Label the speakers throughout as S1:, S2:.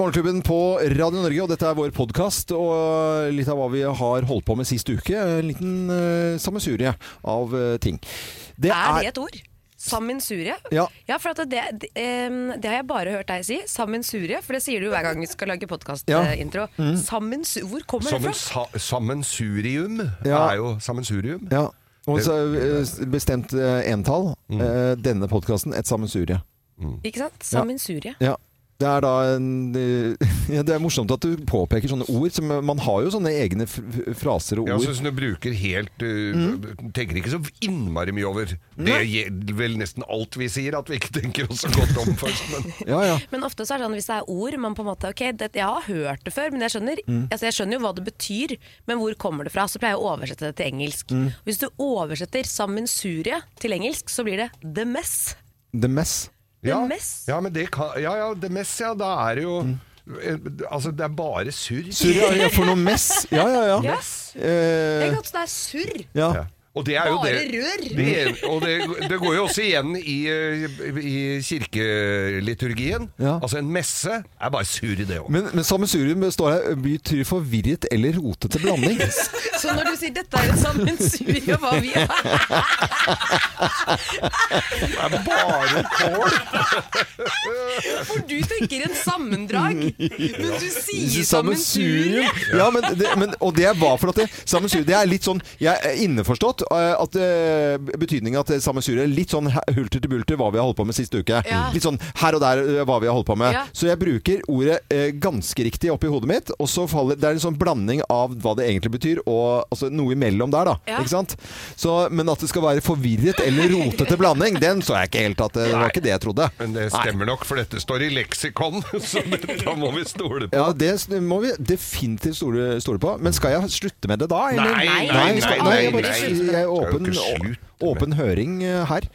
S1: Morgenklubben på Radio Norge, og dette er vår podkast. Og litt av hva vi har holdt på med sist uke. En liten uh, sammensurie av eh, ting. Det
S2: Er det et ord? Sammensurie?
S1: Ja.
S2: ja, for at det, det, em, det har jeg bare hørt deg si. Sammensurie, for det sier du hver gang vi skal lage
S1: Ja. Mm.
S2: podkastintro. Hvor kommer det
S3: Sammen,
S2: fra?
S3: sa, sammensurium
S1: Ja.
S3: er jo sammensurium.
S1: ja. Og så, eh, bestemt eh, entall. Eh, denne podkasten et sammensurie.
S2: Ikke sant? Sammensurie.
S1: Ja. Det er da en, eh, ja, Det er morsomt at du påpeker sånne ord. Som, eh, man har jo sånne egne f f- fraser og
S3: Jeg
S1: ord.
S3: syns du bruker helt uh,
S1: Mm.
S3: Tenker ikke så innmari mye over. Det gjelder vel nesten alt vi sier, at vi ikke tenker oss så godt om først. Men
S1: Ja, ja.
S2: Men ofte så er det sånn hvis det er ord man på en måte Ok, det, jeg har hørt det før, men jeg skjønner
S1: Mm.
S2: altså, Jeg skjønner jo hva det betyr, men hvor kommer det fra? Så pleier jeg å oversette det til engelsk.
S1: Mm.
S2: Hvis du oversetter sammensurie til engelsk, så blir det the mess.
S1: The mess.
S2: The mess.
S3: Ja, men det kan, ja, ja, det mess, ja. Da er det jo
S1: Mm.
S3: eh, Altså, det er bare surr.
S1: Surre er for noe mess. Ja, ja, ja.
S2: Ja. Det
S1: Eh,
S2: er godt, det er surr.
S1: ja.
S3: Ja. Og det er jo
S2: Bare
S3: det.
S2: rør.
S3: Det, og det, det går jo også igjen i, eh, i kirkeliturgien.
S1: Ja.
S3: Altså, en messe er bare surr, det òg.
S1: Men, men sammensurium består av betyr forvirret eller rotete blanding.
S2: Så når du sier dette er et sammensurium av hva vi er
S3: Det er bare kål!
S2: For du tenker en sammendrag, men du sier sammensurium.
S1: Sammensurium. Ja, men det, men, og det er hva for at det, sammensurium Det er litt sånn Jeg er innforstått eh, at eh, betydningen at sammensurium er litt sånn he- hulter til bulter hva vi har holdt på med siste uke.
S2: Ja.
S1: Litt sånn her og der eh, hva vi har holdt på med.
S2: Ja.
S1: Så jeg bruker ordet eh, ganske riktig oppi hodet mitt, og så faller Det er en sånn blanding av hva det egentlig betyr, og altså, noe imellom der, da.
S2: Ja.
S1: Ikke sant? Så, men at det skal være forvirret eller rotete blanding, den så jeg ikke helt at eh, Det var ikke det jeg trodde.
S3: Men det stemmer nok, for dette står i leksikon, så da må vi stole på.
S1: Ja, det s- må vi definitivt stole, stole på. Men skal jeg slutte med det da? eller?
S3: Nei, nei,
S1: vi skal,
S3: nei,
S1: jeg bare
S3: nei,
S1: sier-
S3: nei.
S1: Jeg er
S3: Skal jo
S1: åpen,
S3: ikke slutte med-
S1: åpen høring eh, her.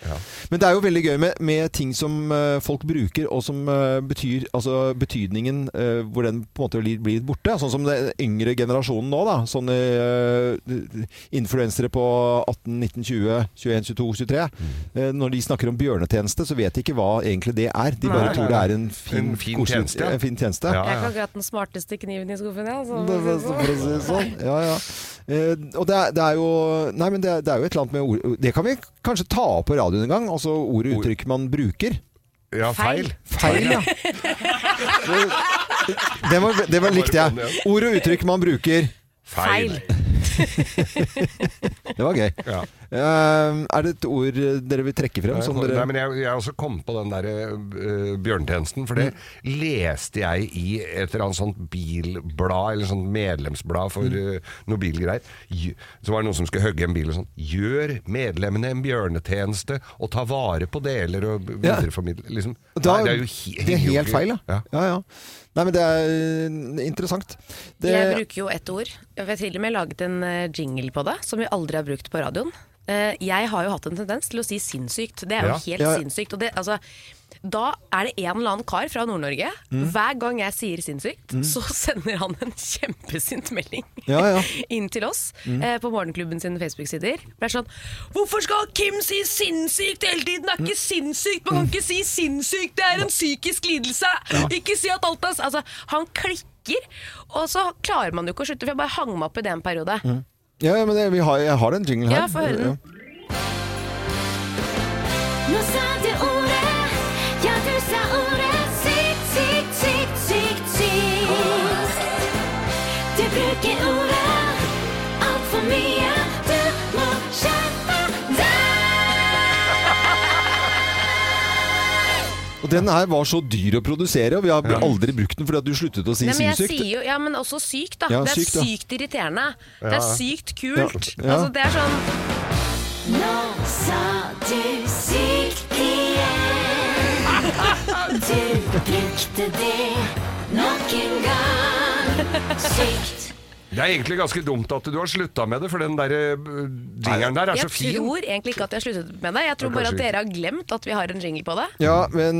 S1: Men det er jo veldig gøy med, med ting som eh, folk bruker, og som eh, betyr Altså betydningen eh, hvor den på en måte blir, blir borte. Sånn som den yngre generasjonen nå, da. Sånne eh, influensere på 18, 19, 20, 21, 22, 23.
S3: Mm.
S1: Eh, når de snakker om bjørnetjeneste, så vet de ikke hva egentlig det er. De bare
S2: Nei.
S1: tror det er en fin,
S3: En fin
S1: koselig-
S3: tjeneste, ja.
S1: En fin tjeneste.
S3: Ja,
S2: Jeg er
S3: ja.
S2: ikke akkurat den smarteste kniven i skuffen, jeg.
S1: Det- det-
S2: Altså.
S1: for å si det sånn. Ja, ja. Eh, og det er, det er jo Nei, men det er, det er jo et eller annet med ord Det kan vi kanskje ta opp på radioen en gang. Altså ord og uttrykk man bruker.
S3: Ja, feil.
S1: Feil, ja. Det var, det var likte jeg. Ord og uttrykk man bruker.
S2: Feil.
S1: Det var gøy.
S3: Ja.
S1: Eh, er det et ord dere vil trekke frem? Som
S3: Nei,
S1: dere
S3: men jeg, jeg også kom på den der eh, bjørntjenesten, for det
S1: Mm.
S3: leste jeg i et eller annet sånt bilblad, eller sånt medlemsblad for
S1: Mm.
S3: eh, noe bilgreier. Gj- Så var det noen som skulle hogge en bil og sånn. Gjør medlemmene en bjørnetjeneste og ta vare på deler og b-
S1: Ja.
S3: videreformidle liksom.
S1: Da-
S3: Nei, det er jo he-
S1: det er
S3: henger jo
S1: helt
S3: ikke-
S1: feil, ja.
S3: Ja.
S1: ja, ja. Nei, men det er eh, interessant. Det,
S2: Jeg bruker jo ett ord. Jeg har til og med laget en eh, jingle på det, som vi aldri har brukt på radioen. Eh, Jeg har jo hatt en tendens til å si sinnssykt. Det er jo
S3: Ja.
S2: helt
S1: Ja.
S2: sinnssykt. Og det, altså, da er det en eller annen kar fra Nord-Norge.
S1: Mm.
S2: Hver gang jeg sier sinnssykt, så sender han en kjempesint melding
S1: Ja, Mm. ja.
S2: inn til oss eh, på Morgenklubben sine Facebook-sider. Det er sånn Hvorfor skal Kim si sinnssykt hele tiden? Det er ikke sinnssykt! Man kan ikke si sinnssykt! Det er en psykisk lidelse! Ikke si at alt er s- Altså, han klikker, og så klarer man jo ikke å slutte. For jeg bare hang meg opp i det en periode.
S1: Mm. ja, ja, men det, vi har, jeg har en jingle her.
S2: Ja, få høre den.
S4: Nå sa du ordet, ja du sa ordet Sykt, sykt, sykt, sykt, sykt Du bruker ordet alt for mye Du må skjerpe deg
S1: Og den her var så dyr å produsere, og vi har aldri brukt den fordi at du sluttet å si
S2: Nei, men jeg
S1: sinnssykt.
S2: sier jo Ja, men også sykt, da.
S1: Ja,
S2: det er
S1: sykt,
S2: sykt,
S1: ja.
S2: irriterende. Det er sykt kult.
S1: Ja.
S2: Altså, det er sånn
S4: Nå sa du sykt igjen Du brukte det nok en gang Sykt
S3: Det er egentlig ganske dumt at du har slutta med det, for den der eh, jingeren der er så
S2: Jeg
S3: fin.
S2: tror egentlig ikke at vi har sluttet med det. Jeg tror
S3: Ja,
S2: bare at
S3: kanskje
S2: dere har glemt at vi har en jingle på det.
S1: Ja, men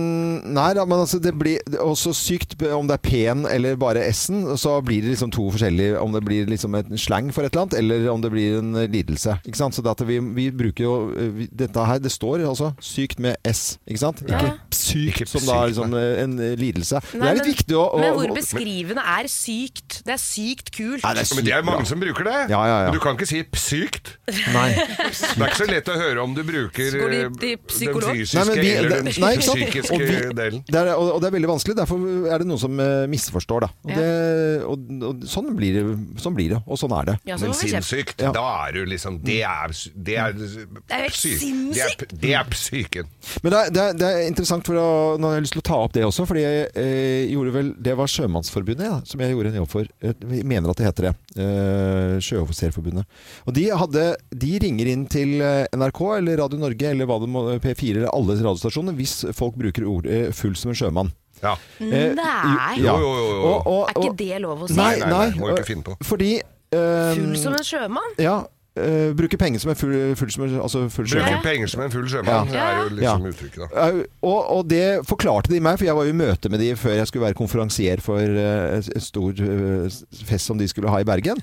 S1: Nei da, men altså det blir det er også sykt b- om det er P-en eller bare S-en. Så blir det liksom to forskjellige Om det blir liksom en slang for et eller annet, eller om det blir en eh, lidelse. Ikke sant? Så det at vi, vi bruker jo eh, vi, Dette her, det står altså sykt med S, ikke sant?
S2: Ja.
S1: Ikke sykt,
S3: Ikke
S1: som da
S3: sykt,
S1: er liksom eh, en eh, lidelse. det
S2: Nei,
S1: er litt viktig å, å
S2: Men hvor beskrivende er sykt? Det er sykt kult.
S1: Nei, det er
S3: Men det er
S1: sykt
S3: mange
S1: bra.
S3: som bruker det.
S1: Ja, ja, ja.
S3: Men du kan ikke si psykt.
S1: Nei.
S3: Det er ikke så lett å høre om du bruker eh,
S2: Skulle de- de
S3: den
S2: psykolog?
S3: fysiske
S1: Nei, men vi,
S3: eller den
S1: det, nei, ikke sant?
S3: psykiske
S1: Og vi,
S3: delen.
S1: Det er, og, og det er veldig vanskelig. Derfor er det noen som eh, misforstår, da. Og,
S2: Ja.
S1: det, og, og sånn, blir det, sånn blir det, og sånn er det.
S2: Ja, så
S3: Men
S2: må vi kjempe.
S3: sinnssykt,
S1: Ja. Mm.
S3: da er du liksom Det er Det
S2: er
S3: er,
S2: jo helt
S3: psy- det er,
S2: sinnssykt.
S3: det er psyken.
S1: Men det er, det er, det er interessant, for å, nå har jeg lyst til å ta opp det også. Fordi jeg eh, gjorde vel Det var Sjømannsforbundet ja, som jeg gjorde en jobb for. Eh, Vi mener at det heter det. Eh, Sjøoffiserforbundet. Og de, hadde, de ringer inn til eh, NRK eller Radio Norge eller hva det må, P4 eller alle radiostasjoner hvis folk bruker ordet eh, 'full som en sjømann'.
S3: Ja.
S1: Eh,
S2: Nei.
S1: jo- ja.
S3: Jo, jo, jo, jo.
S1: Og-
S2: Er
S1: og-
S2: ikke
S1: og-
S2: det lov å si?
S1: Nei,
S3: Nei,
S1: nei,
S3: nei, må ikke finne på.
S1: Fordi eh,
S2: Full som en sjømann?
S1: Ja. eh, bruke penger som en full, full, som en, altså full
S3: Bruker
S1: sjømann.
S3: penger som en full sjømann,
S2: Ja.
S3: er jo liksom
S1: Ja.
S3: uttrykket, da.
S1: Au, Og, og det forklarte de meg, for jeg var jo i møte med de før jeg skulle være konferansier for eh, en stor eh, fest som de skulle ha i Bergen.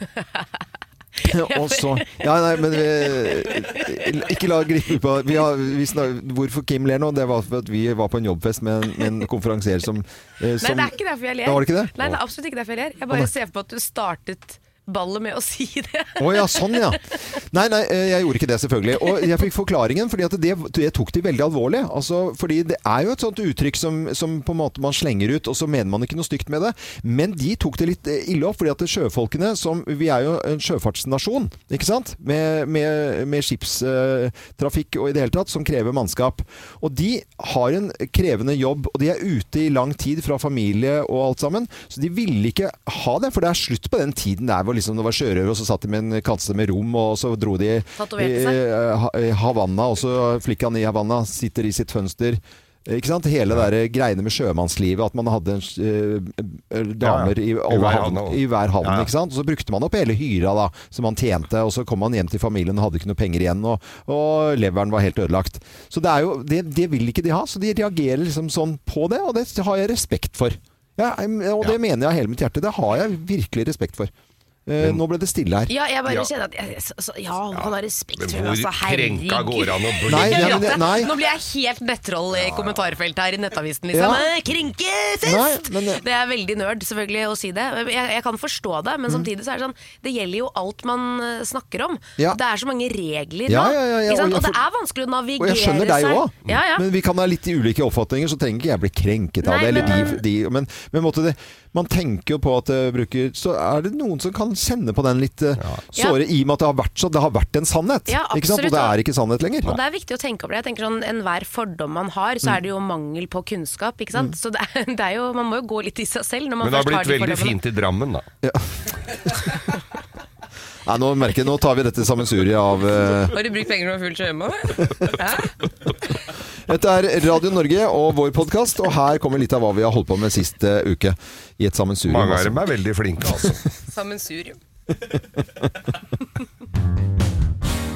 S1: og så Ja, nei, men vi, Ikke la gripe på vi har, vi snak, Hvorfor Kim ler nå, det var for at vi var på en jobbfest med en, med en konferansier som, eh,
S2: Nei,
S1: som
S2: det er ikke derfor jeg ler.
S1: Da var det ikke det?
S2: Nei, det er absolutt ikke derfor jeg ler. Jeg bare ser for meg at du startet ballet med å si det.
S1: Å ja, sånn ja. Nei, nei, eh, jeg gjorde ikke det selvfølgelig. Og jeg fikk forklaringen, fordi at det, det tok de veldig alvorlig. Altså, fordi det er jo et sånt uttrykk som, som på en måte man slenger ut, og så mener man ikke noe stygt med det. Men de tok det litt eh, ille opp, fordi at sjøfolkene, som vi er jo en sjøfartsnasjon, ikke sant? Med, med, med skipstrafikk og i det hele tatt, som krever mannskap. Og de har en krevende jobb, og de er ute i lang tid fra familie og alt sammen, så de ville ikke ha det, for det er slutt på den tiden der hvor liksom det var sjørøver, og så satt de med en kasse med rom, og så dro de i,
S2: Tatoverte seg.
S1: eh, Ha- i Havanna, og så flikkan i Havanna sitter i sitt fønster. Eh, Ikke sant? Hele det der greiene med sjømannslivet, at man hadde en, s- eh, eh, damer
S3: Ja, ja.
S1: i alle
S3: hver
S1: havn.
S3: havn, og-
S1: I hver havn
S3: Ja, ja.
S1: ikke sant? Og så brukte man opp hele hyra da, som man tjente, og så kom man hjem til familien og hadde ikke noe penger igjen, og, og leveren var helt ødelagt. Så det, er jo, det, det vil ikke de ha, så de reagerer liksom sånn på det, og det har jeg respekt for. Ja, og det
S3: Ja.
S1: mener jeg av hele mitt hjerte. Det har jeg virkelig respekt for. Eh, nå ble det stille her.
S2: Ja, jeg bare
S3: Ja.
S2: kjenner at jeg, så, så, Ja, han har respekt
S3: Men
S2: for meg,
S3: hvor
S2: altså.
S3: krenka går
S2: Herregud.
S3: han å bli?
S1: Nei, nei, men- nei.
S2: Nå blir jeg helt nettroll i kommentarfeltet her i Nettavisen.
S1: Ja.
S2: Liksom. Eh, Krenkefest!
S1: Nei, men- eh,
S2: det er veldig nerd selvfølgelig å si det. Jeg, jeg kan forstå det,
S1: Mm.
S2: men samtidig så er det sånn Det gjelder jo alt man eh, snakker om.
S1: Ja.
S2: Det er så mange regler
S1: Ja,
S2: nå.
S1: ja, ja, ja,
S2: ikke sant?
S1: og jeg
S2: og det
S1: for-
S2: er vanskelig å
S1: Og
S2: navigere
S1: jeg skjønner deg
S2: seg.
S1: òg,
S2: Ja, ja.
S1: men vi kan ha litt i ulike oppfatninger, så trenger ikke jeg bli krenket
S2: Nei,
S1: av det. Eller
S2: men-
S1: de, de, men men måtte det, man tenker jo på at eh, bruker Så er det noen som kan kjenne på den litt eh, såre, i og med at det har vært så. Det har vært en sannhet.
S2: Ja,
S1: ikke sant?
S2: absolutt,
S1: Og det
S2: og-
S1: er ikke sannhet lenger.
S2: Og det er viktig å tenke over det. Jeg tenker sånn, Enhver fordom man har,
S1: Mm.
S2: så er det jo mangel på kunnskap. ikke sant? Så det er, det er jo, Man må jo gå litt i seg selv. når man
S3: Men det har
S2: først
S3: blitt
S2: har de
S3: veldig
S2: fordommene.
S3: fint i Drammen, da.
S1: Nei, nå merker jeg, nå tar vi dette sammensuriet av eh,
S2: Har du brukt penger på fullt sjøma?
S1: Dette er Radio Norge og vår podkast, og her kommer litt av hva vi har holdt på med sist eh, uke. I et sammensurium.
S3: Mange av
S1: altså.
S3: dem er veldig flinke, altså.
S2: Sammensurium.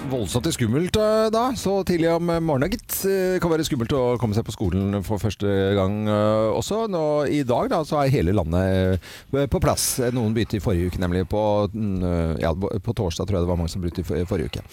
S1: Voldsomt skummelt eh, da, så tidlig om morgenen, gitt. Eh, Kan være skummelt å komme seg på skolen for første gang eh, også. Nå, I dag da, så er hele landet eh, på plass. Eh, Noen begynte i forrige uke, nemlig på, mm, eh, ja, på torsdag, tror jeg det var mange som begynte i for- forrige uke.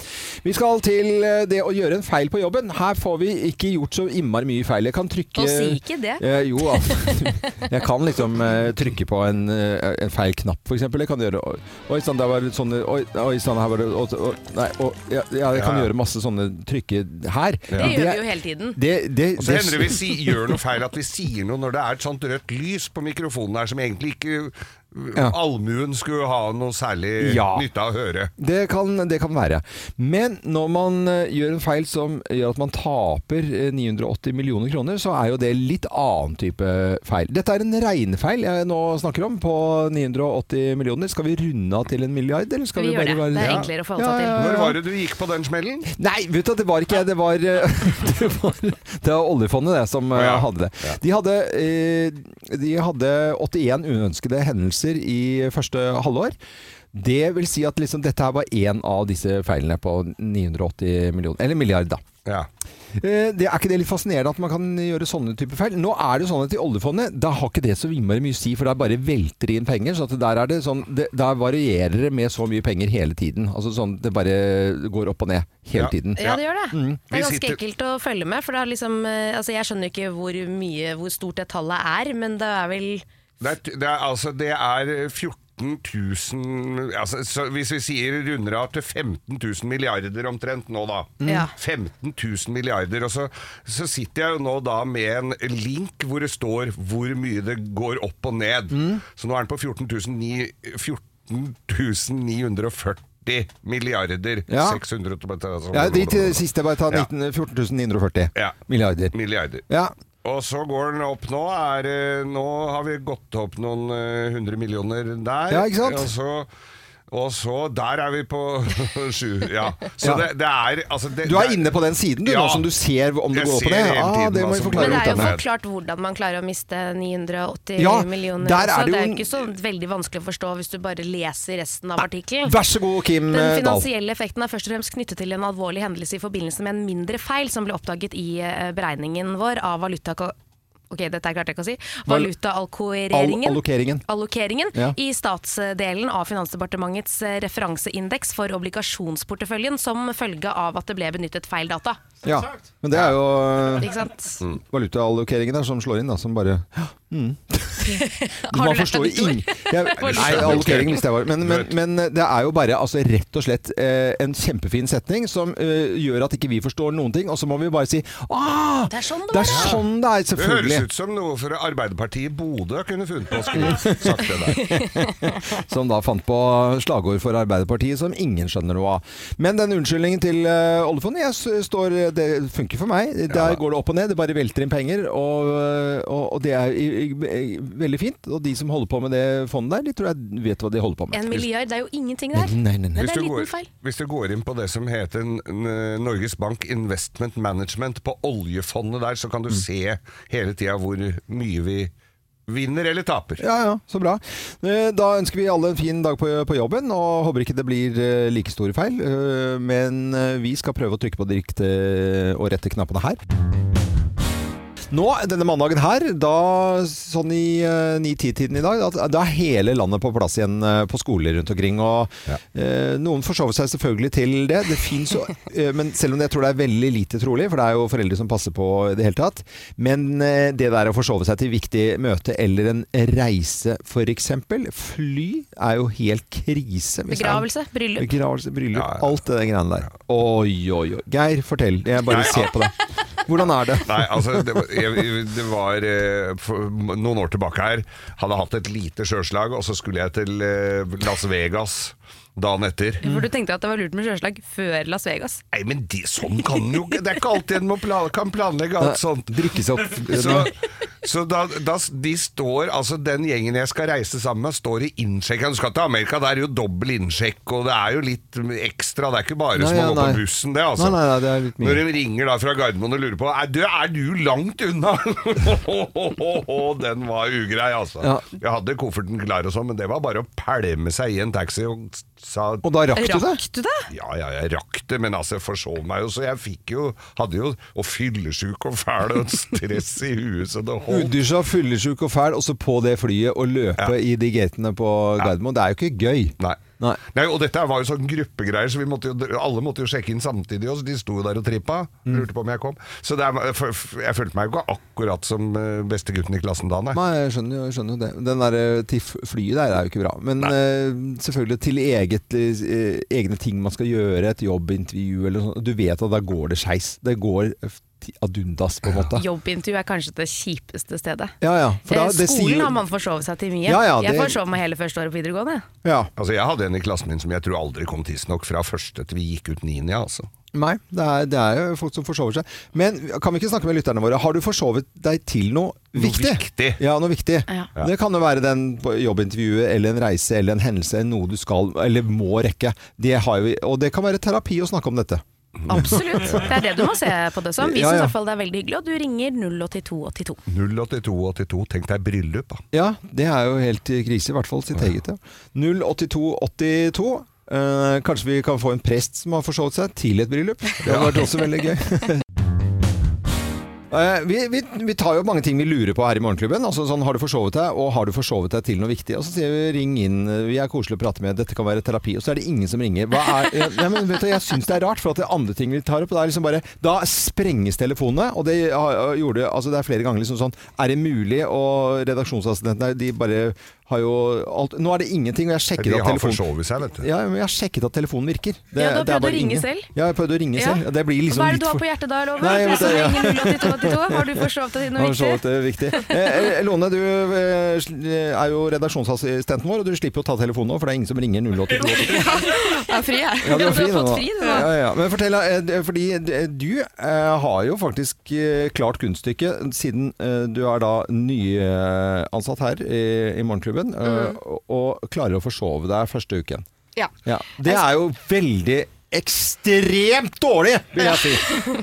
S1: Vi skal til eh, det å gjøre en feil på jobben. Her får vi ikke gjort så innmari mye feil. Jeg kan trykke
S2: Og si ikke det.
S1: Eh, jo, altså. jeg kan liksom eh, trykke på en, eh, en feil knapp, for eksempel. Jeg kan gjøre Oi, oi sann, der var det sånne Oi, oi sann, her var det å, å, Nei, å, ja, ja, jeg kan
S3: Ja.
S1: gjøre masse sånne trykke her.
S2: Det gjør vi jo hele tiden.
S1: Det, det,
S3: Og så hender det vi si, gjør noe feil, at vi sier noe når det er et sånt rødt lys på mikrofonen her som egentlig ikke uh,
S1: Ja.
S3: allmuen skulle ha noe særlig
S1: Ja.
S3: nytte av å høre.
S1: Det kan, det kan være. Men når man eh, gjør en feil som gjør at man taper eh, 980 millioner kroner, så er jo det litt annen type feil. Dette er en regnefeil jeg nå snakker om, på 980 millioner. Skal vi runde av til en milliard, eller skal
S2: Vi
S1: vi,
S2: gjør det.
S1: bare være
S2: Det er enklere å forholde seg til.
S3: Når var det du gikk på den smellen?
S1: Nei, vet du, hva, det var ikke jeg. Det var, eh, det var, det var oljefondet det som
S3: Å, ja.
S1: eh, hadde det. De hadde, eh, de hadde 81 uønskede hendelser anmeldelser i første halvår. Det vil si at liksom, dette her var én av disse feilene på 980 millioner, eller milliard, da.
S3: Ja.
S1: Eh, Det er ikke det litt fascinerende at man kan gjøre sånne typer feil? Nå er det jo sånn at i oljefondet, da har ikke det så innmari mye å si, for der bare velter det inn penger. Så at der, er det sånn, det, der varierer det med så mye penger hele tiden. Altså sånn, Det bare går opp og ned hele
S3: Ja.
S1: tiden.
S2: Ja, det gjør det.
S1: Mm.
S2: Det
S3: Vi
S2: er ganske
S3: sitter-
S2: enkelt å følge med. For det er liksom, eh, altså jeg skjønner ikke hvor, mye, hvor stort det tallet er, men det er vel
S3: Det er, det er, altså, det er 14 000 altså, så Hvis vi sier runder av til 15 000 milliarder omtrent nå, da.
S1: Mm.
S2: Ja.
S3: 15 000 milliarder. Og så, så sitter jeg jo nå da med en link hvor det står hvor mye det går opp og ned.
S1: Mm.
S3: Så nå er den på 14 940 milliarder. altså,
S1: Ja.
S3: 600
S1: Ja, de til siste bare ta
S3: Ja.
S1: 19 14.940
S3: Ja.
S1: milliarder.
S3: milliarder.
S1: Ja.
S3: Og så går den opp nå. Er, eh, nå har vi gått opp noen eh, hundre millioner der.
S1: Ja, ikke sant?
S3: Og så, og så Der er vi på sju. Ja. Så
S1: Ja.
S3: Det, det er altså det,
S1: Du er
S3: det
S1: inne på den siden du
S3: Ja.
S1: nå, som du ser om det
S3: Jeg
S1: går opp og
S3: ser
S1: ned?
S3: hele
S1: Ah,
S3: tiden
S1: det
S3: hva
S1: må vi
S2: Men
S3: som
S1: forklare
S2: det er jo
S1: lytterne.
S3: utdannet.
S2: forklart hvordan man klarer å miste 980
S1: Ja,
S2: millioner.
S1: der er
S2: så
S1: det
S2: det er
S1: jo-
S2: ikke så veldig vanskelig å forstå hvis du bare leser resten av artikkelen.
S1: Vær så god, Kim
S2: Den
S1: eh, Dahl.
S2: finansielle effekten er først og fremst knyttet til en alvorlig hendelse i forbindelse med en mindre feil som ble oppdaget i eh, beregningen vår av valuta... Ok, dette klarte jeg ikke å si.
S1: Val-
S2: Valutaalkoreeringen.
S1: All- allokeringen.
S2: allokeringen
S1: Ja.
S2: i statsdelen av Finansdepartementets eh, referanseindeks for obligasjonsporteføljen som følge av at det ble benyttet feil data.
S1: Ja. Men det er jo eh,
S2: Ikke sant?
S3: Mm.
S1: valutaallokeringen der som slår inn, da, som bare mm.
S2: Har
S1: Man
S2: du lært
S1: forstår
S2: deg
S1: ingen
S2: nytt ord?
S1: Jeg- Nei, allokering visste jeg var men, men, men det er jo bare altså, rett og slett eh, en kjempefin setning som eh, gjør at ikke vi forstår noen ting, og så må vi bare si ah,
S2: Det er sånn det
S1: det er,
S2: var, ja."
S1: sånn det er,
S3: Det høres
S1: selvfølgelig.
S3: ut som noe for Arbeiderpartiet i Bodø kunne funnet på å skulle sagt det der.
S1: Som da fant på slagord for Arbeiderpartiet som ingen skjønner noe av. Men den unnskyldningen til eh, oljefondet, jeg s- står, det funker for meg. Der går det opp og ned, det bare velter inn penger. Og, eh, og, og det er i- i- veldig fint. Og de som holder på med det fondet der, de tror jeg vet hva de holder på med.
S2: En milliard, det er jo ingenting der.
S1: Nei, nei, nei.
S2: Men det er en liten
S3: går,
S2: feil.
S3: hvis du går inn på det som heter N- N- Norges Bank Investment Management på oljefondet der, så
S1: Mm.
S3: kan du se hele tida hvor mye vi vinner eller taper.
S1: Ja, ja, så bra. Eh, Da ønsker vi alle en fin dag på, på jobben, og håper ikke det blir eh, like store feil. Eh, Men eh, vi skal prøve å trykke på de riktige og rette knappene her. Nå, denne mandagen her, da sånn i eh, 9-10-tiden i dag, da, da er hele landet på plass igjen eh, på skoler rundt omkring. Og eh, noen forsover seg selvfølgelig til det. Det fins jo eh, Men selv om jeg tror det er veldig lite trolig, for det er jo foreldre som passer på i det hele tatt. Men eh, det der å forsove seg til viktig møte eller en reise f.eks. Fly er jo helt krise. hvis det er-
S2: Begravelse, bryllup.
S1: Begravelse, bryllup,
S3: Ja, ja.
S1: alt det der greiene der. Oi, oi, oi. Geir, fortell. Jeg bare ser på deg. Hvordan er det?
S3: Nei, altså Det var, jeg, det var eh, for, noen år tilbake her. Hadde hatt et lite sjøslag, og så skulle jeg til eh, Las Vegas dagen etter.
S2: For du tenkte at det var lurt med sjøslag før Las Vegas.
S3: Nei, men det, sånn kan den jo ikke Det er ikke alltid en må pla- kan planlegge alt sånt.
S1: Drikke seg opp.
S3: Så, så da, da de står, altså den gjengen jeg skal reise sammen med, står i innsjekk. Du skal til Amerika, det er jo dobbel innsjekk, og det er jo litt ekstra. Det er ikke bare
S1: Nei,
S3: som å
S1: ja,
S3: gå
S1: nei.
S3: på bussen, det, altså.
S1: Nei, nei, nei, det er litt mye.
S3: Når de ringer da fra Gardermoen og lurer på Er du, er du langt unna? den var ugrei, altså.
S1: Ja.
S3: Jeg hadde kofferten klar og sånn, men det var bare å pælme seg i en taxi og sa
S1: Og da rakk du det?
S2: Rakk du det?
S3: ja, ja, jeg rakk det, men altså, jeg forsov meg jo, så jeg fikk jo Hadde jo Og fyllesjuk og fæl og stress i huet, så det holdt.
S1: Udusja, fyllesyk og fæl, og så på det flyet og løpe i de gatene på Gardermoen. Det er jo ikke gøy.
S3: Nei.
S1: Nei.
S3: Nei, og dette var jo sånn gruppegreier, så vi måtte jo, alle måtte jo sjekke inn samtidig. Også. De sto jo der og trippa.
S1: Mm.
S3: Lurte på om jeg kom. Så det er, f- f- jeg følte meg jo ikke akkurat som eh, beste gutten i klassen da, nei.
S1: Nei, jeg skjønner, jo- jeg skjønner jo det. Den der eh, til f- flyet der er jo ikke bra. Men eh, selvfølgelig til eget, eh, egne ting man skal gjøre, et jobbintervju eller noe sånt. Du vet at da går det skeis. Det går eh, ti- ad undas, på en måte.
S2: Jobbintervju er kanskje det kjipeste stedet.
S1: Ja, ja. For da,
S2: Eh,
S1: det sier
S2: Skolen
S1: jo-
S2: har man forsovet seg til mye.
S1: Ja, ja, det-
S2: Jeg forsov meg hele første året på videregående.
S1: Ja.
S3: Altså, Jeg hadde en i klassen min som jeg tror aldri kom tidsnok fra første til vi gikk ut niende, ja, altså.
S1: Nei, det er, det er jo folk som forsover seg. Men kan vi ikke snakke med lytterne våre? Har du forsovet deg til noe
S3: Noe
S1: viktig?
S3: viktig.
S1: Ja, noe viktig.
S2: Ja.
S1: Det kan jo være den på jobbintervjuet eller en reise eller en hendelse, noe du skal eller må rekke. Det har vi, og det kan være terapi å snakke om dette.
S2: Absolutt. Det er det du må se på det som. Vi
S1: Ja,
S2: syns i
S1: ja.
S2: hvert fall det er veldig hyggelig, og du ringer 08282.
S3: 08282. Tenk deg bryllup, da.
S1: Ja, det er jo helt krise, i hvert fall sitt eget. Ja. 08282. Eh, kanskje vi kan få en prest som har forsovet seg til et bryllup. Det hadde vært også veldig gøy. Eh, Vi, vi, vi tar jo mange ting vi lurer på her i Morgenklubben. Altså sånn, Har du forsovet deg, og har du forsovet deg til noe viktig? Og så sier vi ring inn, vi er koselige å prate med, dette kan være terapi. Og så er det ingen som ringer. Hva er, ja, nei, men vet du, jeg syns det er rart, for at det er andre ting vi tar opp. Det er liksom bare, da sprenges telefonene, og det har- gjorde altså Det er flere ganger liksom sånn Er det mulig? Og redaksjonsassistentene de bare har jo alt Nå er det ingenting, og jeg sjekket
S3: De
S1: at
S3: har
S1: telefonen
S3: forsovet seg, vet du.
S1: ja, men jeg har sjekket at telefonen virker.
S2: Ja,
S1: Det,
S2: du har
S1: det er
S2: prøvd å
S1: bare
S2: ringe
S1: ingen.
S2: selv?
S1: Ja, jeg har prøvd å ringe selv. Det blir liksom
S2: Hva er det
S1: litt
S2: du har
S1: for-
S2: på hjertet da, Loven?
S1: Nei,
S2: Det
S1: jeg
S2: er
S1: vet det, ja.
S2: som ringer 08282. Har du forsovet deg til noe
S1: Har så vidt
S2: viktig?
S1: det er viktig. Eh, eh, Lone, du eh, sl- er jo redaksjonsassistenten vår, og du slipper jo å ta telefonen nå, for det er ingen som ringer 082.
S5: Jeg er fri, jeg.
S1: Ja, du har fri nå.
S2: fått
S1: da.
S2: fri nå.
S1: Ja, ja. Men fortell, eh, d- fordi d- du eh, har jo faktisk eh, klart kunststykket siden eh, du er da nyansatt her i, i Morgenklubben, eh, og, og klarer å forsove deg første uken.
S5: Ja.
S1: Ja. Det er jo veldig ekstremt dårlig, vil jeg si.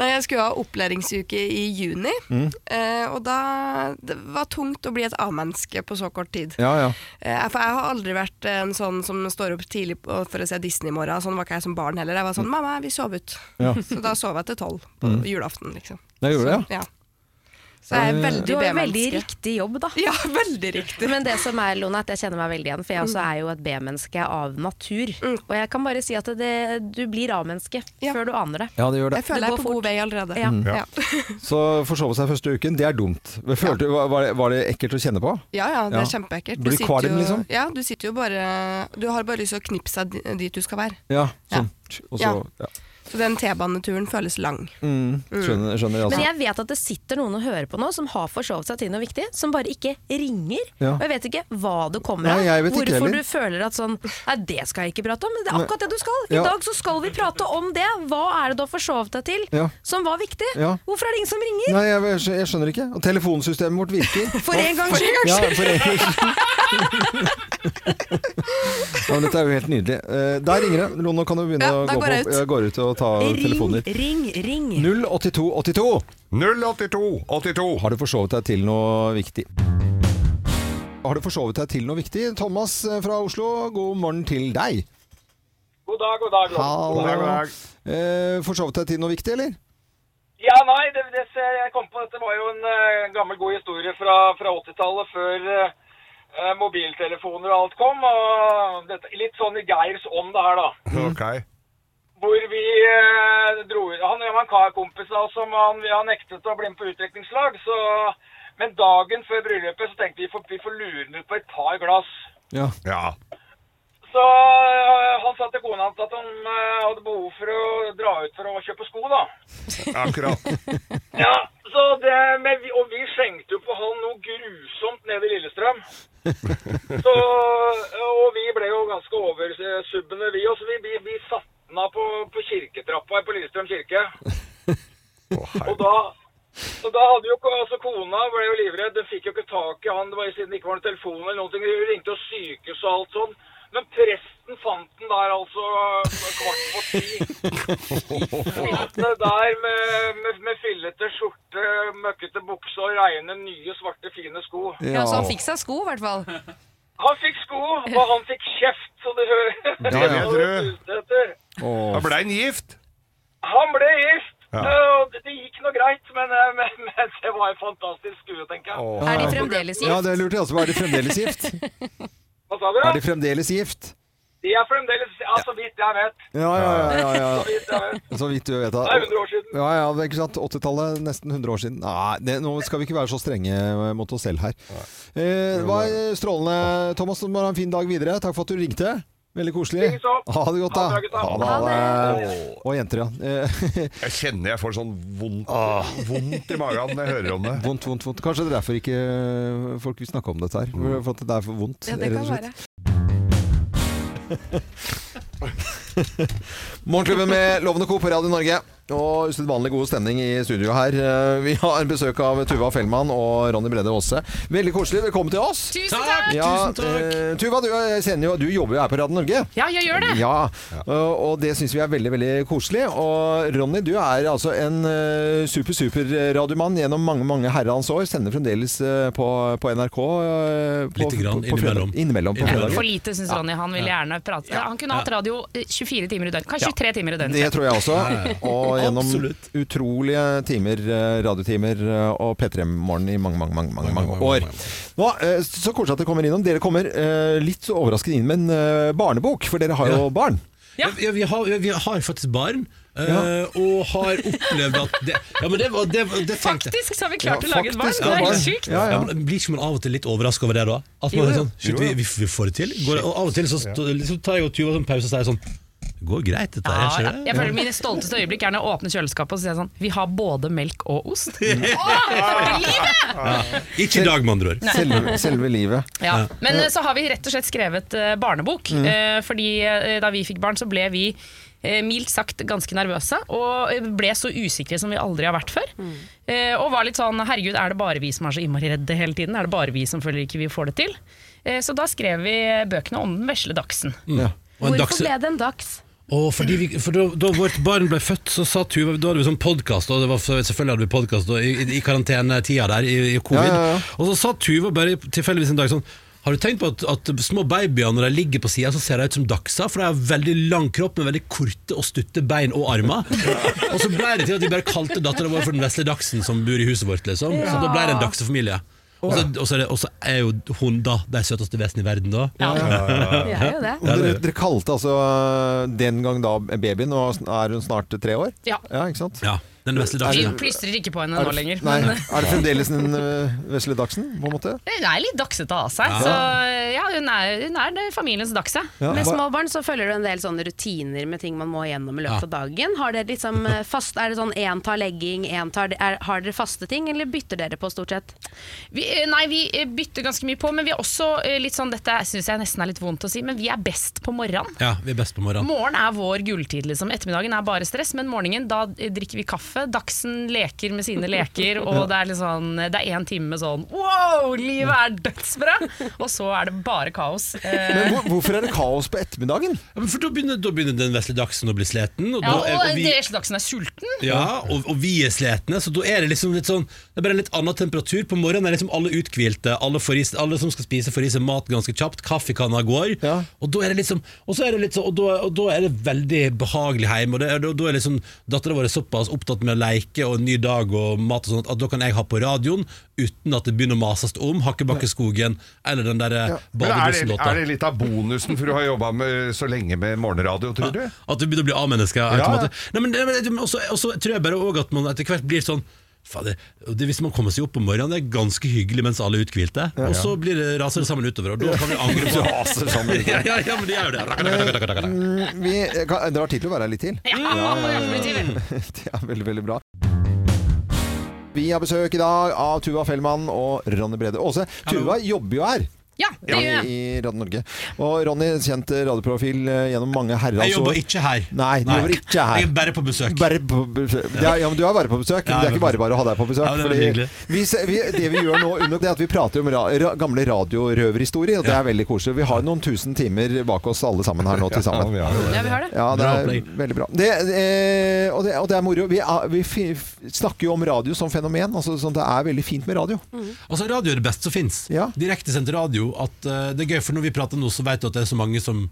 S5: Nei, jeg skulle ha opplæringsuke i juni,
S1: Mm.
S5: eh, og da det var tungt å bli et A-menneske på så kort tid.
S1: Ja, ja.
S5: Eh, for jeg har aldri vært en sånn som står opp tidlig på- for å se Disney i morgen. Sånn var ikke jeg som barn heller. Jeg var sånn 'mamma, vi sov ut'.
S1: Mm. Ja.
S5: Så da sov jeg til tolv på julaften, liksom.
S1: Det gjorde det, ja.
S5: Ja.
S1: Eh,
S5: Så jeg
S1: Mm.
S2: Du
S5: er veldig
S2: har jo veldig
S5: B-menneske.
S2: riktig jobb, da.
S5: Ja, veldig riktig.
S2: Men det som er, Lone, at jeg kjenner meg veldig igjen, for jeg også er jo et B-menneske av natur. Og jeg kan bare si at det, du blir A-menneske
S5: Mm. Ja.
S2: før du aner det.
S1: Ja, det Mm. gjør det.
S5: Jeg føler
S2: Det
S5: jeg
S2: går
S5: er på god vei allerede.
S2: Ja.
S5: Ja.
S1: Så forsove seg første uken, det er dumt. Men Følte, var, var det, var det ekkelt å kjenne på?
S5: Ja, ja, det er
S1: Ja.
S5: kjempeekkelt.
S1: Blir du
S5: sitter
S1: kvalm,
S5: jo-
S1: liksom?
S5: Ja, du sitter jo bare Du har bare lyst til å knipse deg di- dit du skal være.
S1: Ja.
S5: Ja.
S1: Sånn. Og så, ja.
S5: Så den T-baneturen føles lang.
S1: Mm, skjønner,
S2: Men
S1: skjønner jeg, altså.
S2: jeg vet at det sitter noen og hører på nå som har forsovet seg til noe viktig, som bare ikke ringer.
S1: Ja.
S2: Og jeg vet ikke hva det kommer av.
S1: Nei, jeg vet ikke
S2: Hvorfor
S1: heller.
S2: du føler at sånn Nei, det skal jeg ikke prate om, men det er akkurat det du skal. I
S1: Ja.
S2: dag så skal vi prate om det. Hva er det du har forsovet deg til
S1: Ja.
S2: som var viktig?
S1: Ja.
S2: Hvorfor er det ingen som ringer?
S1: Nei, jeg, jeg skjønner ikke. Og telefonsystemet vårt virker.
S2: For en gangs skyld!
S1: Ja, for en gangs skyld. ja, men dette er jo helt nydelig. Eh, Der ringer det. Lone, nå kan du begynne
S5: Ja,
S1: å
S5: da
S1: gå
S5: går jeg
S1: på.
S5: ut.
S1: Jeg går ut og tar
S2: Ring,
S1: telefoner.
S2: ring, ring.
S1: 08282.
S3: 08282.
S1: Har du forsovet deg til noe viktig? Har du forsovet deg til noe viktig? Thomas eh, fra Oslo, god morgen til deg.
S6: God dag, god dag. Loven.
S1: Hallo. Eh, forsovet deg til noe viktig, eller?
S6: Ja, nei, det, det, jeg kom på dette var jo en eh, gammel god historie fra, fra 80-tallet før eh, eh, mobiltelefoner og alt kom. Og dette, litt sånn i Geirs ånd det her, da.
S1: Mm.
S3: Ok.
S6: Hvor vi eh, dro Han er en kar- kompis av oss som han, han nektet å bli med på utdrikningslag. Så, men dagen før bryllupet så tenkte vi får, vi får lure ham ut på et par glass.
S1: Ja.
S3: Ja.
S6: Så øh, han sa til kona hans at han øh, hadde behov for å dra ut for å kjøpe sko, da.
S3: Akkurat.
S6: Ja, så det, men vi, Og vi skjengte jo på han noe grusomt nede i Lillestrøm. Så, øh, og vi ble jo ganske oversubbende, vi også. Vi, vi, vi satte den av på, på kirketrappa på Lillestrøm kirke.
S3: Å, herre.
S6: Og da, og da hadde jo ko- altså kona ble jo livredd. Hun fikk jo ikke tak i han det var siden det ikke var noen telefon eller noen ting. Hun ringte jo sykehus og alt sånn. Men presten fant den der altså kvart på ti. Sittende der med, med, med fillete skjorte, møkkete bukse og reine, nye, svarte, fine sko.
S5: Ja, så han fikk seg sko, i hvert fall.
S6: Han fikk sko, og han fikk kjeft, så du hører.
S3: Det
S6: Og
S3: vet
S6: det
S3: du.
S6: suste etter.
S1: Åh.
S3: Da ble han gift.
S6: Han ble gift,
S3: Ja.
S6: øh, og det det gikk noe greit, men, øh, men, men det var en fantastisk skue, tenker jeg.
S3: Å,
S5: Er de fremdeles
S1: Ja,
S5: gift?
S1: det lurte jeg også på. Er de fremdeles gift?
S6: Hva sa du?
S1: Er de fremdeles gift?
S6: De er fremdeles Ja, så vidt jeg vet.
S1: Ja, ja, ja. ja,
S6: Så vidt jeg vet.
S1: ja. Så vidt du vet da.
S6: Det er 100 år siden.
S1: Ja, ja, det er ikke sant. 80-tallet, nesten 100 år siden. Nei, det, nå skal vi ikke være så strenge mot oss selv her. Eh, det var strålende, Thomas. Du må ha en fin dag videre. Takk for at du ringte. Veldig koselig.
S6: Ringes opp.
S1: Ha det godt,
S6: Ha det bra,
S1: da.
S6: gutta.
S1: det. Og jenter, ja. Eh,
S3: Jeg kjenner jeg får sånn vondt, vondt i magen når jeg hører om det.
S1: Vondt, vondt, vondt. Kanskje det er derfor ikke folk vil snakke om dette her. For at det er for vondt.
S5: Ja, det
S1: rett og
S5: kan
S1: slett.
S5: være.
S1: Morgenklubben med Lovende Co. på Radio Norge. Og usedvanlig god stemning i studio her. Eh, Vi har besøk av Tuva Fellmann og Ronny Brede Aase. Veldig koselig. Velkommen til oss.
S2: Tusen takk!
S1: Ja, eh, Tuva, du, er senior, du jobber jo her på Radio Norge.
S2: Ja, jeg gjør det.
S1: Ja, Eh, og og det syns vi er veldig veldig koselig. Og Ronny, du er altså en eh, super, super radiomann gjennom mange mange herrens år. Sender fremdeles eh, på, på NRK. eh, på-
S7: Lite grann,
S1: på- på fredag-
S7: innimellom.
S1: Innimellom på
S7: Innimellom.
S1: fredager.
S8: For lite, syns Ronny. Han ville gjerne prate. Han kunne hatt radio eh, 24 timer i døgnet. Kanskje 23 timer i
S1: Det
S8: døgnet.
S1: tror jeg også. Og gjennom
S7: Absolutt.
S1: utrolige timer, eh, radiotimer eh, og P3-morgen i mange, mange, mange, mange, mange år. Nå, eh, Så koselig at dere kommer innom. Dere kommer eh, litt overraskende inn med en eh, barnebok, for dere har jo
S7: Ja.
S1: barn.
S7: Ja. Ja, vi, har, vi har faktisk barn, eh, og har opplevd at det, Ja, men det var det, var- det tenkte jeg.
S8: Faktisk så har vi klart
S1: Ja,
S8: å lage et barn!
S1: faktisk
S8: Det er
S1: barn.
S8: helt sykt.
S1: Ja, ja.
S7: Ja, men Blir ikke man av og til litt overraska over det da? At
S8: Jo,
S7: man er
S8: jo.
S7: sånn, shit, vi, vi, vi får det til. Går, og av og til så, st- så tar jeg og Tuva sånn pause og sier sånn Det går greit, dette her.
S8: Ja,
S7: skjer det?
S8: jeg føler Mine stolteste øyeblikk er når jeg åpner kjøleskapet og sier sånn Vi har både melk og ost. Åh, for livet!
S7: Ikke i dag, med andre ord.
S1: Selve, selve livet.
S8: Ja. Men eh, så har vi rett og slett skrevet eh, barnebok.
S1: Mm.
S8: eh, Fordi eh, da vi fikk barn, så ble vi eh, mildt sagt ganske nervøse. Og eh, ble så usikre som vi aldri har vært før.
S1: Mm.
S8: Eh, Og var litt sånn herregud, er det bare vi som er så innmari redde hele tiden? Er det bare vi som føler ikke vi får det til? Eh, Så da skrev vi bøkene om den vesle dachsen.
S7: Mm. Og en dags,
S2: det en dags?
S7: Å, fordi vi, for da, da vårt barn ble født, så sa Tuva Da hadde vi sånn podkast, og det var, selvfølgelig hadde vi podkast i, i, i karantenetida der, i, i covid.
S1: Ja, ja, ja.
S7: Og så sa Tuva bare tilfeldigvis en dag sånn har du tenkt på at, at små babyer når de ligger på sida, så ser de ut som dachser? For de har veldig lang kropp med veldig korte og stutte bein og armer. Og så ble det til at vi bare kalte dattera vår for den vesle dachsen som bor i huset vårt, liksom. Så da ble det en dagsefamilie. Og så- og så er det- og så er jo hun da det søteste vesenet i verden, da.
S2: Vi er jo det.
S1: Og dere, dere kalte altså den gang da babyen, og er hun snart tre år?
S8: Ja.
S1: ikke sant?
S7: Ja, den vesle
S1: Er
S8: Vi
S7: dachsen.
S1: det-
S8: plystrer ikke på henne
S1: Er
S8: nå
S1: det,
S8: lenger.
S1: nei,
S8: men- eh,
S1: er det fremdeles en uh, vesle Dagsen, på en måte?
S8: Hun er litt dagsete av seg. Så eh, ja, hun er, hun er det familiens dagse.
S1: Ja.
S2: Med
S1: Hva-
S2: små barn så følger du en del sånne rutiner med ting man må gjennom i løpet av dagen. Har dere liksom eh, fast, er det sånn én tar legging, én tar er, Har dere faste ting, eller bytter dere på stort sett?
S8: Vi, eh, nei, vi eh, bytter ganske mye på, men vi er også eh, litt sånn Dette syns jeg nesten er litt vondt å si, men vi er best på morgenen.
S7: Ja, vi er best på morgenen.
S8: Morgen er vår gulltid, liksom. Ettermiddagen er bare stress, men morgenen da eh, drikker vi kaffe. Dagsen leker med sine leker, og det er litt sånn Det er én time med sånn wow, livet er dødsbra! Og så er det bare kaos. Eh,
S1: Men hvor, hvorfor er det kaos på ettermiddagen?
S7: Ja, men for da begynner, da begynner den vesle dagsen å bli sliten. Og,
S8: ja,
S7: da er,
S8: og
S7: og,
S8: den
S7: vi,
S8: vesle dagsen er sulten.
S7: ja, og, og vi er slitne, så da er det liksom litt sånn Det er bare en litt annen temperatur. På morgenen er liksom alle uthvilte, alle, får i seg- alle som skal spise, får i seg mat ganske kjapt. Kaffekanna går.
S1: Ja.
S7: Og da er det liksom Og så er det litt sånn Og da, og da er det veldig behagelig hjemme. Og det er, da, da er liksom dattera vår er såpass opptatt med å leke og en ny dag og mat og sånt, at da kan jeg ha på radioen uten at det begynner å mases om Hakkebakkeskogen eller den eh, derre ja.
S3: Men er det, er det litt av bonusen for å ha jobba så lenge med morgenradio, tror du?
S7: At du begynner å bli A-menneske
S3: Ja, ja.
S7: automatisk. Nei, men, det- men, det- også, også tror jeg bare også at man etter hvert blir sånn Fader, det, Hvis man kommer seg opp om morgenen, det er ganske hyggelig mens alle er uthvilte. Og så blir det, raser det sammen utover, og da kan vi angre på
S1: Raser sammen.
S7: ja, ja, ja, men det gjør det.
S1: Mm, vi, kan, dere har tid til å være her litt til.
S8: Ja, må gjøre det til.
S1: Det er veldig, veldig bra. Vi har besøk i dag av Tuva Fellmann og Ronny Brede Aase. Tuva jobber jo her.
S8: Ja, det gjør jeg.
S1: I Radio Norge. Og Ronny, kjent radioprofil eh, gjennom mange
S7: Jeg
S1: herrens
S7: jobber
S1: år.
S7: ikke her.
S1: Nei, du jobber ikke her.
S7: Jeg er bare på besøk.
S1: Bare på besøk. Det er, ja, men du er bare på besøk.
S7: Ja,
S1: det er ikke bare bare å ha deg på besøk.
S7: Ja, det er
S1: fordi
S7: veldig
S1: vi, se- vi, det vi gjør nå, under, det er at vi prater om ra, ra, gamle radiorøverhistorier, og det er veldig koselig. Vi har noen tusen timer bak oss alle sammen her nå til sammen.
S3: Ja, vi har det.
S2: Ja, vi har det.
S1: Ja, det
S7: Bra
S1: er
S7: opplegg.
S1: veldig bra. Det, eh, og, det, og det er moro. Vi, er, vi fi- f- snakker jo om radio som fenomen. Altså, sånn, det er veldig fint med radio.
S7: Altså, radio er det beste som fins.
S1: Ja.
S7: Direktesendt radio. At, eh, det er gøy, for når vi prater nå, så vet du at det er så mange som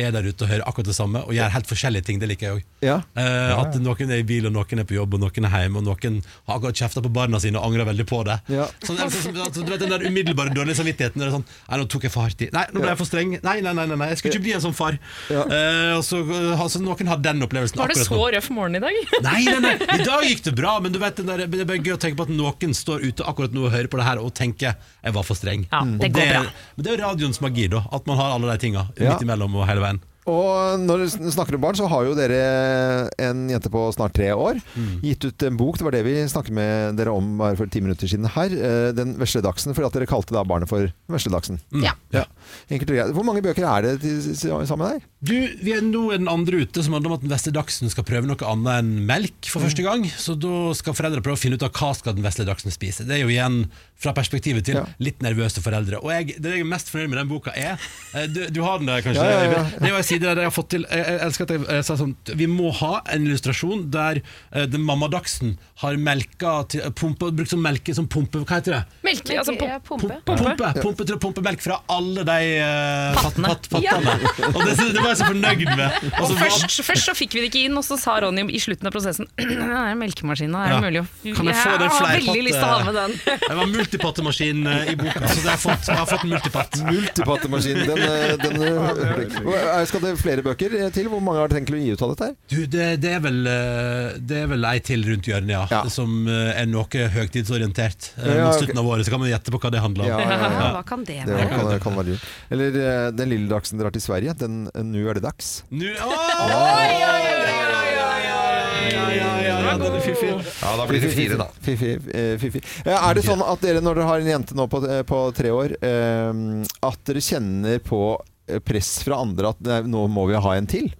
S7: er der ute og hører akkurat det samme, og gjør helt forskjellige ting. Det liker jeg òg.
S1: Ja.
S7: Eh, At noen er i bil, og noen er på jobb, og noen er hjemme, og noen har akkurat kjefta på barna sine og angrer veldig på det.
S1: Ja.
S7: Sånn, altså, sånn, altså, du vet den der umiddelbare dårlige samvittigheten. Der, det er sånn, nei, nå tok jeg for hardt i. Nei, nå ble jeg for streng. Nei, nei, nei, nei, nei jeg skulle ikke bli en sånn far.
S1: Ja.
S7: Eh, og så, altså, noen har den opplevelsen
S8: Var det
S7: akkurat
S8: så
S7: nå.
S8: røff morgen i dag?
S7: Nei, nei, nei, i dag gikk det bra, men du vet, den der, det er bare gøy å tenke på at noen står ute akkurat nå og hører på det her og tenker 'jeg var for streng'.
S8: Ja,
S7: Og
S8: det går
S7: er-
S8: bra.
S7: Men det er jo radioens magi, da. At man har alle de tinga
S1: Ja.
S7: midt imellom og hele veien.
S1: Og når du snakker om barn, så har jo dere en jente på snart tre år
S7: Mm.
S1: gitt ut en bok. Det var det vi snakket med dere om bare for ti minutter siden her. eh, Den vesle dagsen. For at dere kalte da barnet for Vesledagsen.
S7: Mm.
S8: Ja.
S1: Enkelt og greit. Hvor mange bøker er det til sammen her?
S7: Du, vi er nå den andre ute som handler om at den vesle dagsen skal prøve noe annet enn melk for første gang. Så da skal foreldre prøve å finne ut av hva skal den vesle dagsen spise. Det er jo igjen fra perspektivet til
S1: Ja.
S7: litt nervøse foreldre. Og jeg, det jeg er mest fornøyd med den boka er eh, Du, du har den der, kanskje?
S1: Ja, ja, ja.
S7: Øyvind? Det var en side der jeg har fått til Jeg, jeg elsker at jeg, eh, sa sånn Vi må ha en illustrasjon der eh, den mammadagsen har melka til, pumpa, brukt som melke som pumpe... Hva heter det?
S8: Melke, altså pom-
S7: Pumpe. Pumpe. Pumpe til å pumpe melk fra alle de eh,
S8: Pattene.
S7: Pat, pat, pattene. Og det, det var jeg så fornøyd med. Altså, Og
S8: Og
S7: så var-
S8: først, først så fikk vi det ikke inn, og så sa Ronny i slutten av prosessen Den der melkemaskinen, er det
S7: Ja.
S8: mulig å
S7: Kan jeg få den
S8: har
S7: fleipatte-
S8: veldig lyst til å ha med den.
S7: Jeg var multipattemaskin eh, i boka, så det har jeg fått, jeg har fått multipatt.
S1: Multipattemaskinen. Den, eh, den, eh, Hva- skal det flere bøker eh, til? Hvor mange har dere tenkt å gi ut av dette? her?
S7: Du, det, det er vel eh, Det er vel ei til rundt hjørnet, ja.
S1: Ja.
S7: Som eh, er noe høytidsorientert. Eh,
S1: Ja,
S7: Mot
S1: ok.
S7: slutten av året så kan man gjette på hva det handler om.
S8: Ja, hva kan det
S1: Det
S8: være?
S1: kan, kan være lurt. Eller eh, Den lille dagsen drar til Sverige. Den eh, Nå er det dags.
S7: Nå, Oi, oi, oi, oi, oi, oi, oi, oi, oi, oi, den er fiffig.
S3: Ja, da blir det fire, da.
S1: Fiffi, eh, fiffi. Eh, Er det sånn at dere, når dere har en jente nå på, eh, på tre år, eh, at dere kjenner på eh, press fra andre at nei, nå må vi ha en til?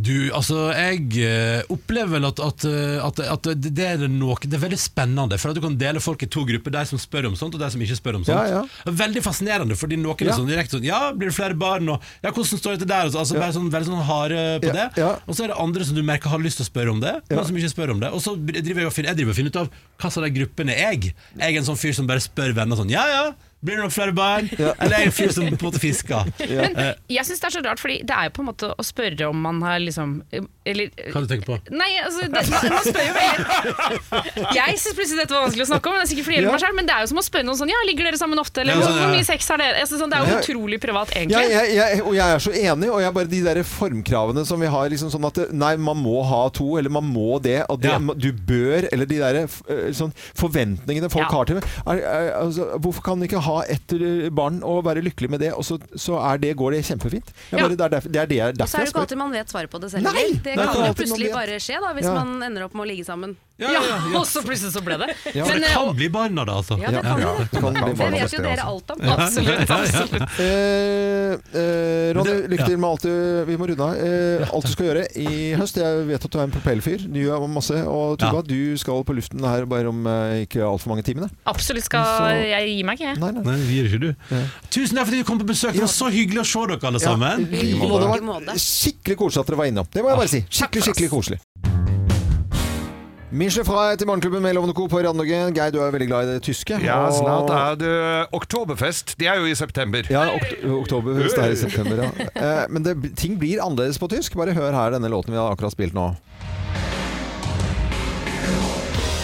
S7: Du, altså, jeg eh, opplever vel at, at, eh, at, at det, det er noe Det er veldig spennende, for at du kan dele folk i to grupper. De som spør om sånt, og de som ikke spør om sånt.
S1: Ja, ja.
S7: Det er Veldig fascinerende, fordi noen
S1: Ja.
S7: er sånn direkte sånn Ja, blir det flere barn? Og, ja, hvordan står det til der? Og så- Altså, bare sånn, veldig sånn harde på
S1: Ja,
S7: det.
S1: ja.
S7: Og så er det andre som du merker har lyst til å spørre om det,
S1: Ja.
S7: men som ikke spør om det. Og så driver jeg og finner, jeg driver og finner ut av hva slags gruppen er jeg. Jeg er en sånn fyr som bare spør venner sånn Ja, ja, blir det nok flere barn? Eller jeg er en fyr som på en måte fisker. Eh,
S8: Men jeg syns det er så rart, Fordi det er jo på en måte å spørre om man har liksom Eller
S7: Hva du tenker på?
S8: Nei, altså det, man, man spør jo veldig- Jeg syns plutselig dette var vanskelig å snakke om, men det er sikkert fordi jeg gjelder meg selv, men det er jo som å spørre noen sånn Ja, ligger dere sammen ofte, eller
S7: Ja,
S8: hvor-
S7: sånn, ja.
S8: hvor mye sex har dere? Altså, sånn, det er jo
S1: Ja.
S8: utrolig privat,
S1: Ja,
S8: egentlig.
S1: jeg, jeg, og jeg er så enig, og jeg bare de der formkravene som vi har liksom sånn at det- Nei, man må ha to, eller man må det, og det,
S7: Ja.
S1: du bør Eller de der eh, sånn, forventningene folk
S8: Ja.
S1: har til meg. Er, er, altså, hvorfor kan man ikke ha ett eh, barn og være lykkelig med det, og så, så er det, går det kjempefint? Jeg
S8: Ja.
S1: bare, det er derfor, det er det jeg,
S9: Og så er det jo
S1: derfor jeg
S9: ikke
S1: spør.
S9: alltid man vet svaret på det selv.
S1: Nei!
S9: heller.
S1: Det
S9: det
S1: er
S9: kan
S1: ikke
S9: jo
S1: alltid
S9: plutselig
S1: man vet.
S9: bare skje da, hvis
S1: Ja.
S9: man ender opp med å ligge sammen.
S7: Ja, ja, ja.
S8: Og så plutselig så ble det.
S1: Ja.
S7: For
S8: Men,
S7: det
S8: eh,
S7: kan bli barna, da, altså.
S9: Ja, det kan jo det.
S1: Det kan bli
S9: Det
S1: barn.
S9: vet jo dere alt om.
S8: absolutt, absolutt.
S1: Eh, eh, Ronny,
S7: Men det-
S1: lykke til
S7: ja.
S1: med alt du Vi må runde av. Eh, alt du skal gjøre i høst. Jeg vet at du er en propellfyr. Du gjør masse. Og Tuva,
S7: Ja.
S1: du skal på luften her bare om eh, ikke altfor mange timene.
S8: Absolutt skal
S1: Så-
S8: jeg gi meg, ikke jeg.
S1: Nei, nei.
S7: Nei, det gir ikke du. Tusen takk for at du kom på besøk. Det var så hyggelig å se dere alle sammen.
S1: Ja, i like måte. Det var skikkelig koselig at dere var innom. Det må jeg bare si. Skikkelig, skikkelig koselig. Michel Frey til Morgenklubben med Lovende Co. på Radio Norge. Geir, du er veldig glad i det tyske.
S3: Ja,
S1: og-
S3: snart er det oktoberfest. Det er jo i september.
S1: ja, okt oktober hvis det er i september, ja. Eh, men det, ting blir annerledes på tysk. Bare hør her denne låten vi har akkurat spilt nå.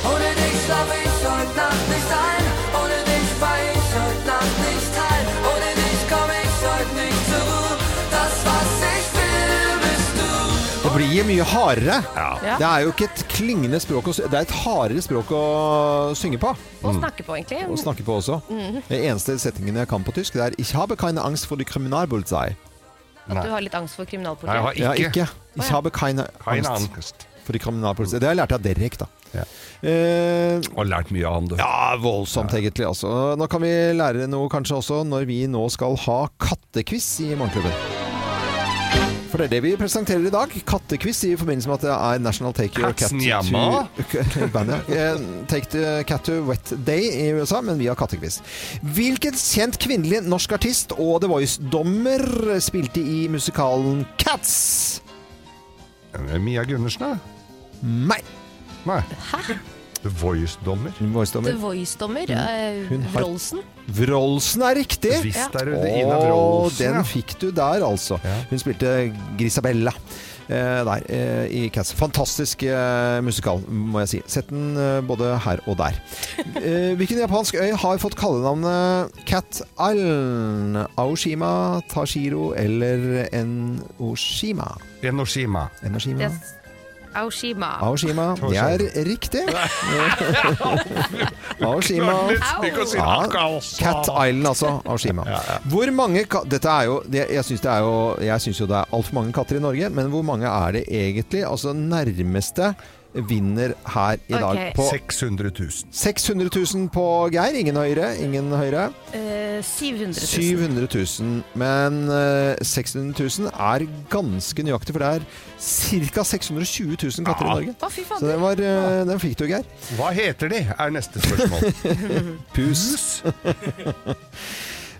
S10: Ohne dich schlaf ich heute Nacht nicht ein. Ohne dich bei ich heute Nacht nicht teil. Ohne dich komm ich heute nicht zur Ruhe. Das, was ich will, bist du.
S1: Det blir mye hardere.
S8: Ja.
S1: Det er jo ikke et klingende språk å, sy- Det er et hardere språk å synge på.
S3: Mm.
S9: Å snakke Mm. på, egentlig.
S1: Og snakke på også. Den eneste setningen jeg kan på tysk, det er Ich habe keine angst for die Kriminalpolizei.
S9: At du har litt angst for
S3: Nei,
S9: kriminalpolitikk.
S3: jeg har
S1: Ja,
S3: ikke.
S1: ikke. Ich habe keine
S3: Har en
S1: angst.
S3: annen angst.
S1: for de kriminalpolitiet. Det har jeg lært av Derek, da.
S3: Ja.
S1: Eh,
S3: Har lært mye av han, du.
S1: ja, voldsomt egentlig. Altså. Nå kan vi lære noe kanskje også når vi nå skal ha kattequiz i Morgenklubben. For det er det vi presenterer i dag. Kattequiz i forbindelse med at det er National Take Your Cat
S3: Katzen hjemme.
S1: to Bandet. Eh, Take the Cat to Wet Day i USA, men vi har kattequiz. Hvilken kjent kvinnelig norsk artist og The Voice-dommer spilte i musikalen Cats?
S3: Eh, Mia Gundersen, da?
S1: Nei.
S3: Nei. The Voice-dommer.
S9: The
S1: Voice-dommer. eh,
S9: Voice-dommer,
S2: Eh,
S1: Hun har-
S9: Rolsen.
S1: Vrolsen er riktig!
S3: Visst er det Ina
S1: Å,
S3: Wroldsen.
S1: den
S3: ja.
S1: fikk du der, altså.
S3: Ja.
S1: Hun spilte Grisabella. eh, der, eh, i Cats. Fantastisk eh, musikal, må jeg si. Sett den eh, både her og der. Eh, hvilken japansk øy har fått kallenavnet Cat Island? Aoshima, Tashiro eller Enoshima?
S3: Enoshima.
S1: Enoshima?
S9: Det
S2: Aoshima.
S1: Aoshima. Det er riktig. Aoshima.
S3: Nesten ikke å si
S1: Ja,
S3: Akasa.
S1: Cat Island, altså. Aoshima. Hvor mange ka- Dette er jo det- Jeg syns det er jo Jeg synes jo det er altfor mange katter i Norge, men hvor mange er det egentlig? Altså nærmeste vinner her i dag
S2: Ok.
S1: på
S3: 600 000.
S1: 600 000 på Geir. Ingen høyere. Ingen høyere.
S2: Eh, 700 000.
S1: 700 000. Men eh, 600 000 er ganske nøyaktig, for det er ca. 620 000 katter i Norge.
S2: Å, fy
S1: Så
S2: fader.
S1: den, var, eh, den fikk du, Geir.
S3: Hva heter de, er neste spørsmål.
S1: Pus.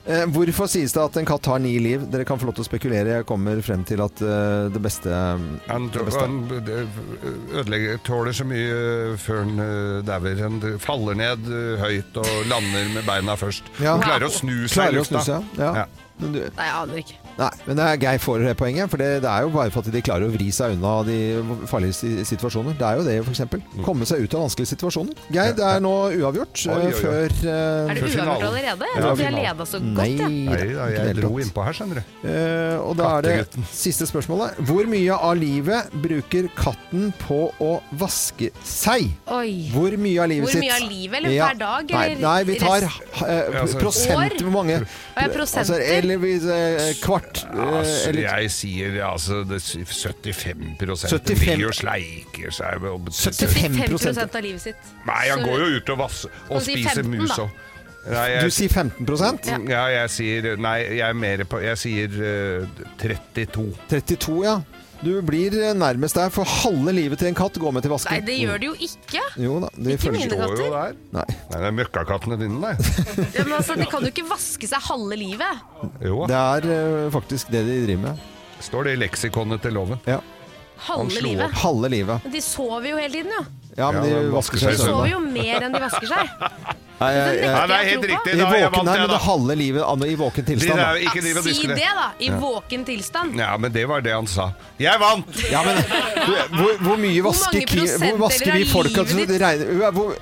S1: Eh, Hvorfor sies det at en katt har ni liv? Dere kan få lov til å spekulere. Jeg kommer frem til at eh, det beste
S3: Han,
S1: det
S3: tå-
S1: beste.
S3: han eh, ødelegger, tåler så mye eh, før han eh, dauer. Han faller ned eh, høyt og lander med beina først.
S1: Ja.
S3: Han klarer å snu seg i
S1: Klarer å snu
S3: lufta.
S1: seg. Ja.
S3: Ja.
S1: Men du,
S2: Nei, jeg aner ikke.
S1: nei, men det er Geir får poenget, for det, det er jo bare for at de klarer å vri seg unna de farligste situasjoner. Det er jo det, f.eks. Komme seg ut av vanskelige situasjoner. Geir, det er nå uavgjort
S3: Mm. Oi, oi, oi.
S1: eh, før eh,
S2: Er det
S3: Før finalen.
S2: uavgjort allerede? Jeg
S3: Ja,
S2: trodde
S3: Mm.
S2: jeg altså
S1: finalen.
S2: leda så
S1: Nei,
S2: godt, jeg.
S3: Nei da,
S1: ikke
S3: jeg
S1: det hele
S3: dro
S1: tatt.
S3: innpå her, skjønner du.
S1: Eh, og da er det
S3: Kattegutten.
S1: siste spørsmålet. Hvor mye av livet bruker katten på å vaske seg?
S2: Oi.
S1: Hvor mye av livet
S2: Hvor
S1: sitt
S2: mye av livet, eller
S1: Ja.
S2: per dag?
S1: Nei,
S2: eller
S1: nei vi tar
S2: rest-
S1: eh,
S3: altså-
S1: prosent
S2: År?
S1: Hvor mange
S2: ja, prosenter.
S1: eller vi, eh, kvart eh,
S3: Altså,
S1: eller,
S3: jeg sier altså det, s- 75 Det
S1: 75
S3: ligger og sleiker seg. og-
S1: 75
S2: 5 av livet sitt.
S3: Nei, han går jo ut og vasser og
S2: Så si
S3: spiser
S2: 15
S3: mus
S2: da.
S3: og Nei,
S1: Du
S3: jeg,
S1: sier 15
S3: ja, jeg sier Nei, jeg er mer på Jeg sier eh, 32.
S1: 32, ja. Du blir eh, nærmest der, for halve livet til en katt går med til
S2: Nei,
S1: vasken.
S2: det gjør det jo ikke.
S1: Jo da, de
S2: Ikke
S1: følger
S2: mine
S1: seg.
S3: Står jo
S2: katter.
S3: der.
S1: Nei.
S3: Nei, det er møkkakattene dine, nei.
S2: Ja, men altså, de kan jo ikke vaske seg halve livet.
S3: Jo,
S1: Det er eh, faktisk det de driver med.
S3: står det i leksikonet til loven.
S1: Ja.
S3: Han
S2: Halve
S3: slo
S2: livet.
S1: Halve livet.
S2: Men de sover jo hele tiden, jo.
S1: Ja, men
S3: Ja,
S1: de
S3: men
S1: vasker seg
S2: De
S3: Det er
S2: sover jo
S1: søndag.
S2: mer enn de vasker seg.
S1: Nei, jeg,
S2: Skal
S3: Nei,
S1: jeg,
S3: det
S2: jeg
S3: er helt
S2: tro på?
S3: riktig.
S1: I
S3: Da, jeg
S1: våken,
S3: vant
S1: nei,
S3: det,
S1: men
S3: da.
S1: det halve livet an- i
S3: Det
S1: våken tilstand.
S3: er
S1: Da.
S3: jo ikke driv og
S2: Si
S3: diskutere.
S2: det, da. I våken tilstand.
S3: Ja, men det var det han sa. Jeg vant!
S1: Ja, men du, hvor, hvor mye vasker,
S2: mange
S1: Kim- hvor
S2: prosent
S1: vasker
S2: eller
S1: vi
S2: av
S1: folk at
S2: livet
S1: det regner ja, hvor,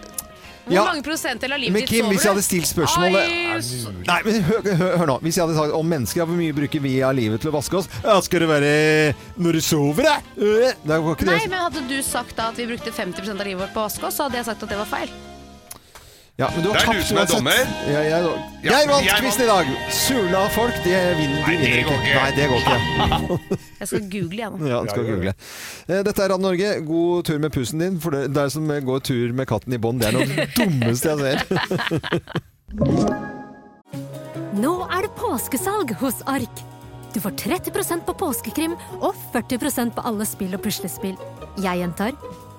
S2: Hvor
S1: ja,
S2: mange prosentdeler av
S1: Men
S2: livet ditt
S1: Kim, hvis jeg
S2: sover
S1: hadde
S2: du?
S1: stilt spørsmålet
S2: Ai, s-
S1: Nei, men hør, hør, hør nå. Hvis jeg hadde sagt om mennesker, ja, hvor mye bruker vi av livet til å vaske oss? Ja, skal det være når du sover, da? Øh, Det går ikke det.
S2: Nei, men hadde du sagt da at vi brukte 50 av livet vårt på å vaske oss, så hadde jeg sagt at det var feil.
S1: Ja, men du har
S3: Det er
S1: tapt
S3: du som er
S1: uansett.
S3: dommer.
S1: Ja, jeg,
S3: Ja,
S1: jeg vant
S3: jeg
S1: quizen i dag. Sula folk, de vinner, de
S3: Nei, det
S1: vinner ikke.
S3: går ikke.
S1: Nei, det går ikke.
S2: Jeg skal google igjen.
S1: Ja, du skal
S3: Ja, gjør
S1: google. Eh, Dette er Radio Norge. God tur med pusen din. For det, det er som å gå tur med katten i bånd. Det er noe av det dummeste jeg ser.
S4: Nå er det påskesalg hos Ark. Du får 30 på påskekrim og 40 på alle spill og puslespill. Jeg gjentar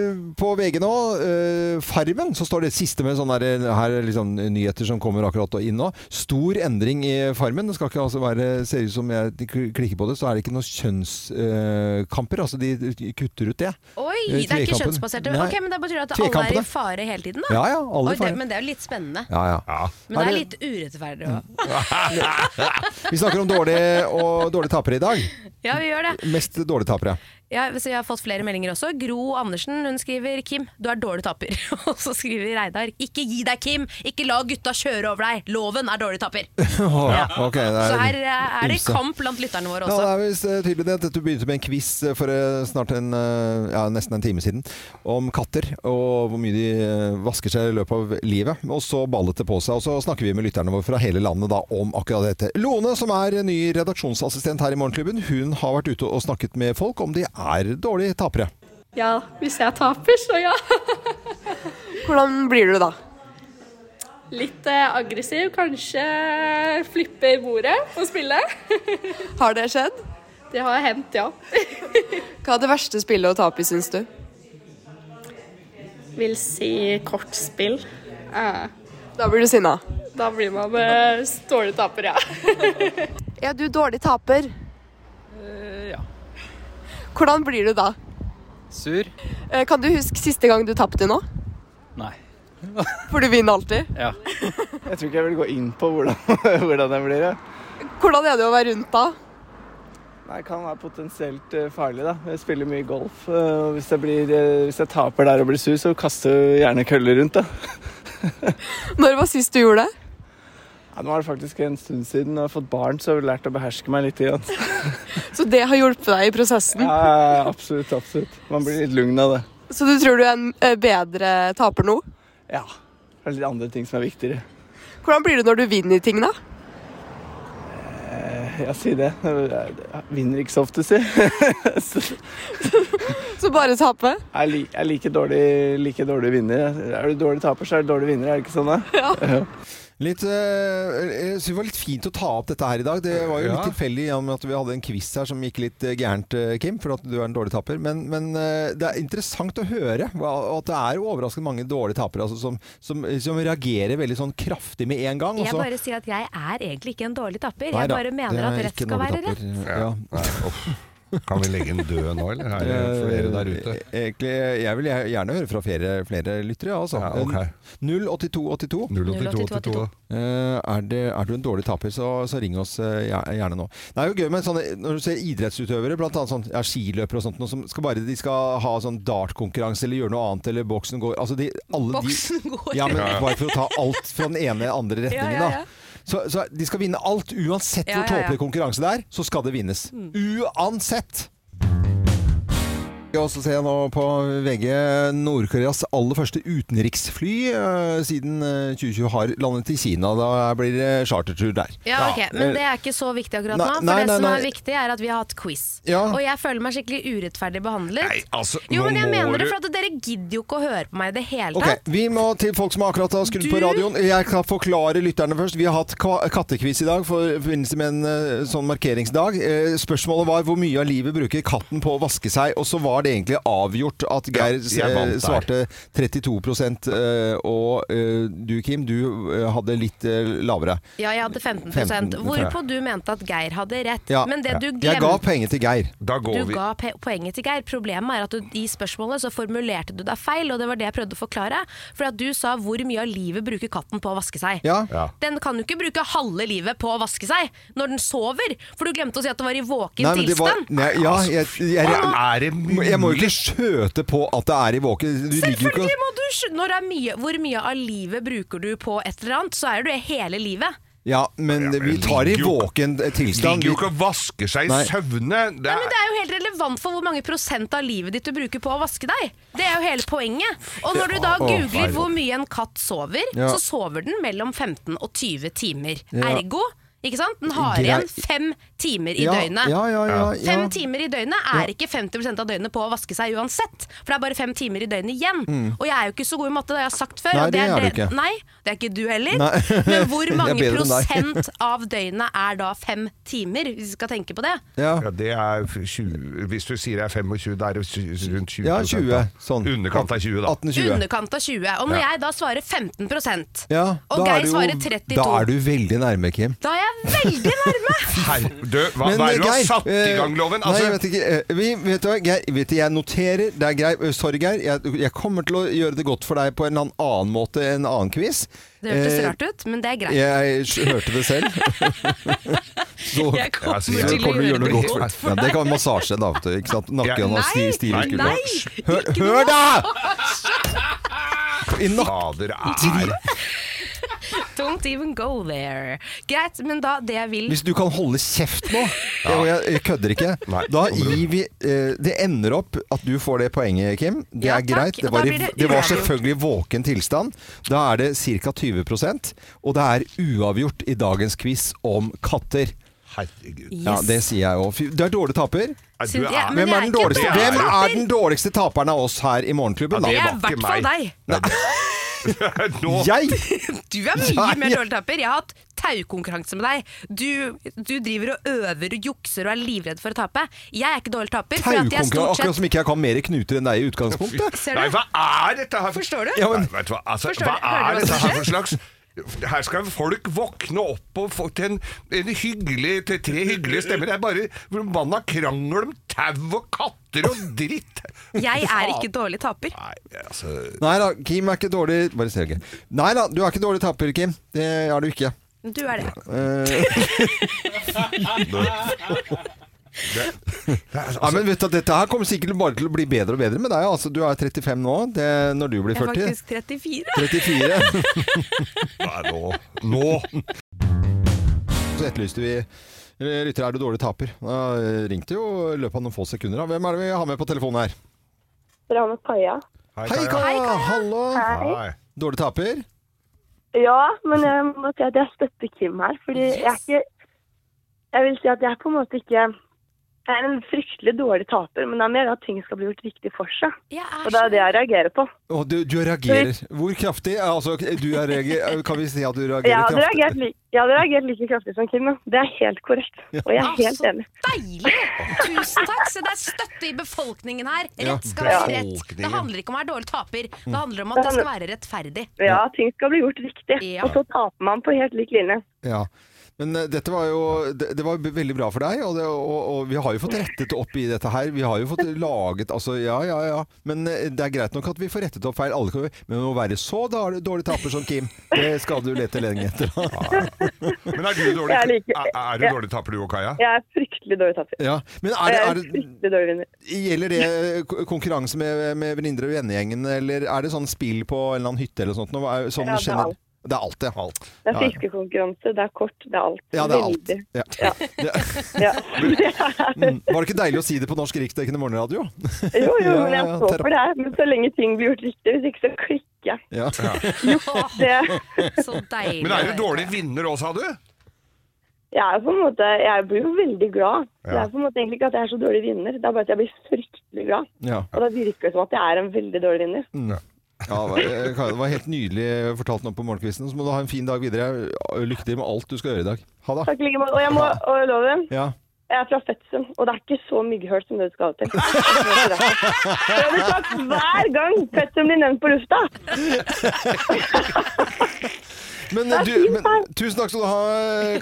S1: På VG nå, eh, Farmen, så står det siste med sånne der, her, er liksom, nyheter som kommer akkurat inn nå. Stor endring i Farmen. Det skal ikke altså være Ser ut som jeg kl- klikker på det, så er det ikke noen kjønnskamper. altså, de kutter ut det.
S2: Oi,
S1: I
S2: det er ikke
S1: tvekampen.
S2: kjønnsbaserte.
S1: Nei.
S2: Ok, men Det betyr at alle er i
S1: Tvekampene.
S2: fare hele tiden, da?
S1: Ja ja, alle
S2: Oi,
S1: i
S2: det,
S1: Farmen.
S2: men det er jo litt spennende.
S1: Ja, ja.
S3: Ja.
S2: Men det
S1: Er
S2: er
S1: det- Mm.
S2: litt urettferdig òg.
S1: Vi snakker om dårlige og dårlige tapere i dag.
S2: Ja, vi gjør det.
S1: Mest dårlige tapere.
S2: Ja, så jeg har fått flere meldinger også. Gro Andersen hun skriver 'Kim, du er dårlig taper'. Og så skriver Reidar 'Ikke gi deg, Kim! Ikke la gutta kjøre over deg! Loven er dårlig taper'.
S1: Åh, ok, det
S2: Så
S1: er-
S2: her eh, er det
S1: ymse.
S2: kamp blant lytterne våre også.
S1: Ja, det er visst eh, tydelig det. at Du begynte med en quiz eh, for eh, snart en, eh, ja, nesten en time siden om katter og hvor mye de eh, vasker seg i løpet av livet. Og så ballet det på seg. Og så snakker vi med lytterne våre fra hele landet da om akkurat dette. Lone, som er ny redaksjonsassistent her i Morgenklubben, hun har vært ute og snakket med folk om de er dårlige tapere.
S5: Ja, hvis jeg taper, så ja. Hvordan blir du da?
S8: Litt eh, aggressiv, kanskje flipper bordet på spillet.
S5: Har det skjedd?
S8: Det har hendt, ja.
S5: Hva er det verste spillet å tape i, syns du?
S8: Vil si kortspill. Eh,
S5: Da blir du sinna.
S8: da blir man eh, dårlig taper, ja.
S5: Er du dårlig taper?
S8: Eh, ja.
S5: Hvordan blir du da?
S8: Sur?
S5: Eh, Kan du huske siste gang du tapte nå?
S8: Nei.
S5: For du vinner alltid.
S8: Ja. Jeg tror ikke jeg vil gå inn på hvordan, hvordan det blir.
S5: Hvordan er det å være rundt da?
S11: Nei, kan være potensielt eh, farlig, da. Jeg spiller mye golf. eh, og Hvis jeg, blir, eh, hvis jeg taper der og blir sur, så kaster jeg gjerne køller rundt, da.
S5: Når var sist du gjorde det?
S11: Ja, nå er det faktisk en stund siden jeg har fått barn, så jeg har lært å beherske meg litt. Igjen.
S5: Så det har hjulpet deg i prosessen?
S11: Ja, ja, ja, absolutt, absolutt. Man blir litt lugn av det.
S5: Så du tror du er en eh, bedre taper nå?
S11: Ja. Det er litt andre ting som er viktigere.
S5: Hvordan blir det når du vinner ting, da?
S11: Eh, Ja, si det. Jeg vinner ikke så ofte, si. Så
S5: Så bare tape?
S11: Jeg er, li jeg er like dårlig, like dårlig vinner. Er du dårlig taper, så er du dårlig vinner, er det ikke sånn, da? Ja.
S1: Litt, eh, jeg synes det var litt fint å ta opp dette her i dag. Det var jo
S3: Ja.
S1: litt tilfeldig i og med at vi hadde en quiz her som gikk litt eh, gærent, eh, Kim, for at du er en dårlig taper. Men, men eh, det er interessant å høre hva- at det er overraskende mange dårlige tapere altså, som, som, som reagerer veldig sånn kraftig med en gang. og
S2: Jeg
S1: så-
S2: bare sier at jeg er egentlig ikke en dårlig tapper.
S1: Nei
S2: Jeg
S1: da,
S2: bare
S1: Altså- det
S2: mener
S1: er
S2: at rett
S1: ikke
S2: skal
S1: dårlig
S2: være
S1: tapper.
S2: rett.
S1: Ja.
S3: Nei, uff. Kan vi legge en død nå, eller? Er det flere der ute?
S1: Eh, Egentlig, jeg vil gjer- gjerne høre fra flere, flere lyttere, altså.
S3: Ja, ok.
S1: 08282.
S3: 08282.
S1: Eh, er, det, er du en dårlig taper, så, så ring oss eh, gjer- gjerne nå. Det er jo gøy med sånne, når du ser idrettsutøvere, blant annet sånn, ja, skiløpere og sånt, noe som skal bare, de skal ha sånn dartkonkurranse eller gjøre noe annet, eller boksen går. Altså de, alle
S2: Boksen
S1: de,
S2: går.
S1: Ja, men
S2: Ja, ja.
S1: bare for å ta alt fra den ene andre retningen,
S2: Ja, ja, ja.
S1: da. Så, så de skal vinne alt, uansett
S2: Ja, ja,
S1: hvor
S2: ja.
S1: tåpelig konkurranse det er, så skal det vinnes.
S2: Mm.
S1: Uansett! Og så ser jeg nå på VG Nord-Koreas aller første utenriksfly eh, siden eh, 2020 har landet i Kina. Da blir det chartertur der.
S2: Ja, ok, Men det er ikke så viktig akkurat nå.
S1: Nei,
S2: For
S1: nei,
S2: det
S1: nei,
S2: som er
S1: nei.
S2: viktig, er at vi har hatt quiz.
S1: Ja.
S2: Og jeg føler meg skikkelig urettferdig behandlet.
S3: Nei, altså,
S2: jo,
S3: nå
S2: men jeg
S3: må
S2: mener det,
S3: du-
S2: for at dere gidder jo ikke å høre på meg i det hele
S1: Ok,
S2: tatt.
S1: Vi må til folk som akkurat har skrudd
S2: Du-
S1: på radioen. Jeg kan forklare lytterne først. Vi har hatt kva- kattekviss i dag for i forbindelse med en eh, sånn markeringsdag. Eh, Spørsmålet var hvor mye av livet bruker katten på å vaske seg, og så var det egentlig avgjort at Geir
S3: Ja, jeg vant
S1: eh, svarte 32 eh, og eh, du Kim, du eh, hadde litt eh, lavere.
S2: Ja, jeg hadde 15,
S1: 15, tror jeg.
S2: Hvorpå du mente at Geir hadde rett.
S1: Ja.
S2: Men det du
S1: Jeg ga
S2: glemte
S1: penger til Geir.
S3: Da går
S2: Du
S3: vi.
S2: ga pe- poenget til Geir. Problemet er at du, i spørsmålet så formulerte du deg feil, og det var det jeg prøvde å forklare. For at du sa 'hvor mye av livet bruker katten på å vaske seg'.
S1: Ja.
S3: Ja.
S2: Den kan jo ikke bruke halve livet på å vaske seg når den sover, for du glemte å si at det var i våken
S1: Nei, men det var,
S2: tilstand.
S1: nei, ja, jeg, jeg,
S3: Er det
S1: jeg, jeg må jo ikke skjøte på at det er i våken. Du ligger jo ikke
S2: Selvfølgelig må du skjønne når det er mye, hvor mye av livet bruker du på et eller annet, så er det jo hele livet.
S1: Ja, men vi tar i
S3: ligger jo-
S1: våken tilstand.
S3: Ligger jo ikke og vasker seg i
S1: Nei.
S3: søvne. Det
S2: Men det er jo helt relevant for hvor mange prosent av livet ditt du bruker på å vaske deg. Det er jo hele poenget. Og når du da
S1: Å,
S2: googler
S1: feil.
S2: hvor mye en katt sover,
S1: Ja.
S2: så sover den mellom 15 og 20 timer.
S1: Ja.
S2: Ergo, ikke sant? Den har
S1: Grei-
S2: igjen fem timer i
S1: ja,
S2: døgnet.
S1: Ja, ja, ja, ja.
S2: Fem timer i døgnet er ikke 50 av døgnet på å vaske seg uansett. For det er bare fem timer i døgnet igjen. Og jeg er jo ikke så god i matte, det har jeg sagt før.
S1: Mm. Nei,
S2: og
S1: det er du ikke.
S2: Nei, det er ikke du heller.
S1: Nei.
S2: Men hvor
S1: Jeg er
S2: mange
S1: bedre enn deg.
S2: prosent av døgnet er da fem timer, hvis vi skal tenke på det?
S1: Ja.
S3: Ja, det er 20 Hvis du sier det er 25, da er det sy- rundt 20
S1: Ja, 20. Sånn.
S3: Underkant av 20, da.
S1: 18-20.
S2: Underkant av 20. Og når
S3: Ja.
S2: jeg da svarer 15
S1: Ja,
S2: og
S1: da er
S2: Geir
S1: du jo-
S2: svarer 32
S1: Da er du veldig nærme, Kim.
S2: Da er jeg veldig nærme!
S3: Her, du, hva,
S1: Men,
S3: hva er det du har
S1: Geir,
S3: satt i
S1: eh,
S3: gang, Loven?
S1: Nei,
S3: Altså,
S1: jeg vet ikke. eh, Vi, vet du, hva, Geir, vet du, jeg noterer. Det er greit. Eh, Sorry, Geir. Jeg, jeg kommer til å gjøre det godt for deg på en annen- annen måte, en annen quiz.
S2: Det hørtes
S1: Eh,
S2: rart ut, men det er greit.
S1: Jeg s- hørte det selv. Så,
S2: Jeg
S3: Ja,
S2: kommer
S3: altså,
S1: så
S3: jeg
S2: til å
S1: kommer du
S2: gjøre
S1: gjøre
S2: det
S1: noe
S2: godt
S1: godt
S2: for
S1: for deg. Ja, det kan massasje, da. vet du, Ikke sant? Nakken og sti- stive
S3: Nei,
S1: skuldre.
S2: Nei!
S1: Hør, hør da! I nakken
S3: fader er
S2: Don't even go there. Greit, men da det jeg vil
S1: Hvis du kan holde kjeft nå, og jeg, jeg kødder ikke,
S3: Nei,
S1: da
S3: det kommer
S1: gir vi eh, Det ender opp at du får det poenget, Kim. Det
S2: Ja,
S1: er
S2: takk.
S1: greit. Det
S2: Og da
S1: var, i,
S2: blir det
S1: det var
S2: uavgjort.
S1: selvfølgelig våken tilstand. Da er det ca. 20 og det er uavgjort i dagens quiz om katter.
S3: Herregud.
S1: Ja, Det sier jeg òg. Du er dårlig taper.
S3: Nei,
S2: Synd-
S3: Du
S2: ja,
S3: er
S2: men- jeg
S1: Hvem er
S2: er ikke
S1: den dårligste,
S3: dårlig
S1: Hvem
S3: taper.
S1: er den dårligste taperen av oss her i
S2: Det
S1: Morgenklubben? da?
S2: er i
S3: var ikke
S2: hvert fall deg.
S3: meg. Nå
S1: Jeg!
S2: Du er mye
S1: Ja,
S2: mer
S1: ja.
S2: dårlig tapper. Jeg har hatt taukonkurranse med deg. Du, du driver og øver og jukser og er livredd for å tape. Jeg er ikke dårlig tapper. For at jeg
S1: Taukonkurranse.
S2: stort
S1: Akkurat
S2: sett
S1: som ikke jeg kan mer knuter enn deg i utgangspunktet.
S2: Ser
S3: Nei,
S2: du?
S3: hva er dette her?
S2: Forstår du?
S1: Ja, men-
S3: Nei, vet du hva altså,
S2: Forstår
S3: hva
S2: du? Hører
S3: er
S2: du hva
S3: dette
S2: som
S3: her for slags her skal folk våkne opp og få til en, en hyggelig, til tre hyggelige stemmer. Det er bare forbanna krangel om tau og katter og dritt.
S2: Jeg er ikke dårlig taper.
S3: Nei, altså
S1: Nei da, Kim er ikke dårlig Bare se, Geir. Nei da, du er ikke dårlig taper, Kim. Det er du ikke.
S2: Du er det.
S1: Eh, ja, men vet du, at Dette her kommer sikkert bare til å bli bedre og bedre med deg. Altså, du er 35 nå, det, når du blir
S2: Jeg er
S1: 40.
S2: faktisk 34.
S1: 34. nå. Så etterlyste vi Lytter, er du dårlig taper? Da eh, ringte jo i løpet av noen få sekunder. da. Hvem er det vi har med på telefonen her?
S12: Dere har med Kaja.
S1: Hei, Kaja. Hallo.
S12: Hei.
S1: Dårlig taper?
S12: Ja, men jeg må si at jeg støtter Kim her, fordi jeg er ikke Jeg vil si at jeg er på en måte ikke Jeg er en fryktelig dårlig taper, men det er mer at ting skal bli gjort riktig for seg. Og det er det jeg reagerer på.
S1: Å, du, du reagerer. Hvor kraftig? Altså, du er reager... Kan vi si at du
S12: Jeg
S1: reagerer
S12: hadde,
S1: kraftig?
S12: reagert like, jeg hadde reagert like kraftig som Kim, ja. det er helt korrekt. Og jeg er helt enig.
S9: Deilig! Tusen takk! Se, det er støtte i befolkningen her.
S12: Ja,
S9: Rett skal være rett.
S12: befolkningen.
S9: Det handler ikke om å være dårlig taper, det handler om
S12: Det
S9: at det skal
S12: handler-
S9: være rettferdig.
S12: Ja, ting skal bli gjort riktig.
S9: Ja.
S12: Og så taper man på helt lik linje.
S1: Ja. Men eh, dette var jo det, det var jo veldig bra for deg, og, det, og, og vi har jo fått rettet opp i dette her. Vi har jo fått laget Altså, ja, ja, ja. Men eh, det er greit nok at vi får rettet opp feil. Alle kan, men å være så dårlig, dårlig taper som Kim, det skal du lete lenge etter.
S3: Men er du dårlig,
S12: Jeg liker-
S3: er, er du
S12: jeg-
S3: dårlig taper du og Kaja?
S12: Jeg er fryktelig dårlig taper.
S1: Ja. Men
S12: Og
S1: er det,
S12: jeg
S1: er
S12: er
S1: det,
S12: fryktelig dårlig vinner.
S1: gjelder det eh, konkurranse med, med venninner og vennegjengen, eller er det sånn spill på en eller annen hytte eller sånt? Noe, sånn
S12: Ja, det er
S1: gener-
S12: alt.
S1: det er alt, ja. Alt.
S12: Det er fiskekonkurranse, det er kort, det er alt.
S1: Ja, det er alt.
S12: Veldig.
S1: Ja.
S12: Ja. Ja.
S1: Mm. Var det ikke deilig å si det på Norsk Riksdekkende Morgenradio?
S12: Jo, jo, men jeg
S1: Ja,
S12: står
S1: terapi.
S12: for det her. Men så lenge ting blir gjort riktig, hvis ikke så klikker jeg.
S1: Ja.
S12: Det-
S9: Så deilig.
S3: Men er du dårlig vinner òg, sa du?
S12: Jeg er på en måte, jeg blir jo veldig glad.
S3: Ja.
S12: Det er på en måte egentlig ikke at jeg er så dårlig vinner, det er bare at jeg blir fryktelig glad.
S1: Ja.
S12: Og da virker det som at jeg er en veldig dårlig vinner.
S1: Mm. Ja, det var- eh, Kaja, det var helt nydelig fortalt nå på morgenkvisten. Så må du ha en fin dag videre. Lykke til med alt du skal gjøre i dag. Ha det.
S12: Takk i like måte. Og jeg må og loven,
S1: Ja.
S12: jeg er fra Fetsum, og det er ikke så mygghull som det du skal til. Det blir sagt hver gang Fetsum blir nevnt på lufta.
S1: Men, du, men tusen takk skal du ha,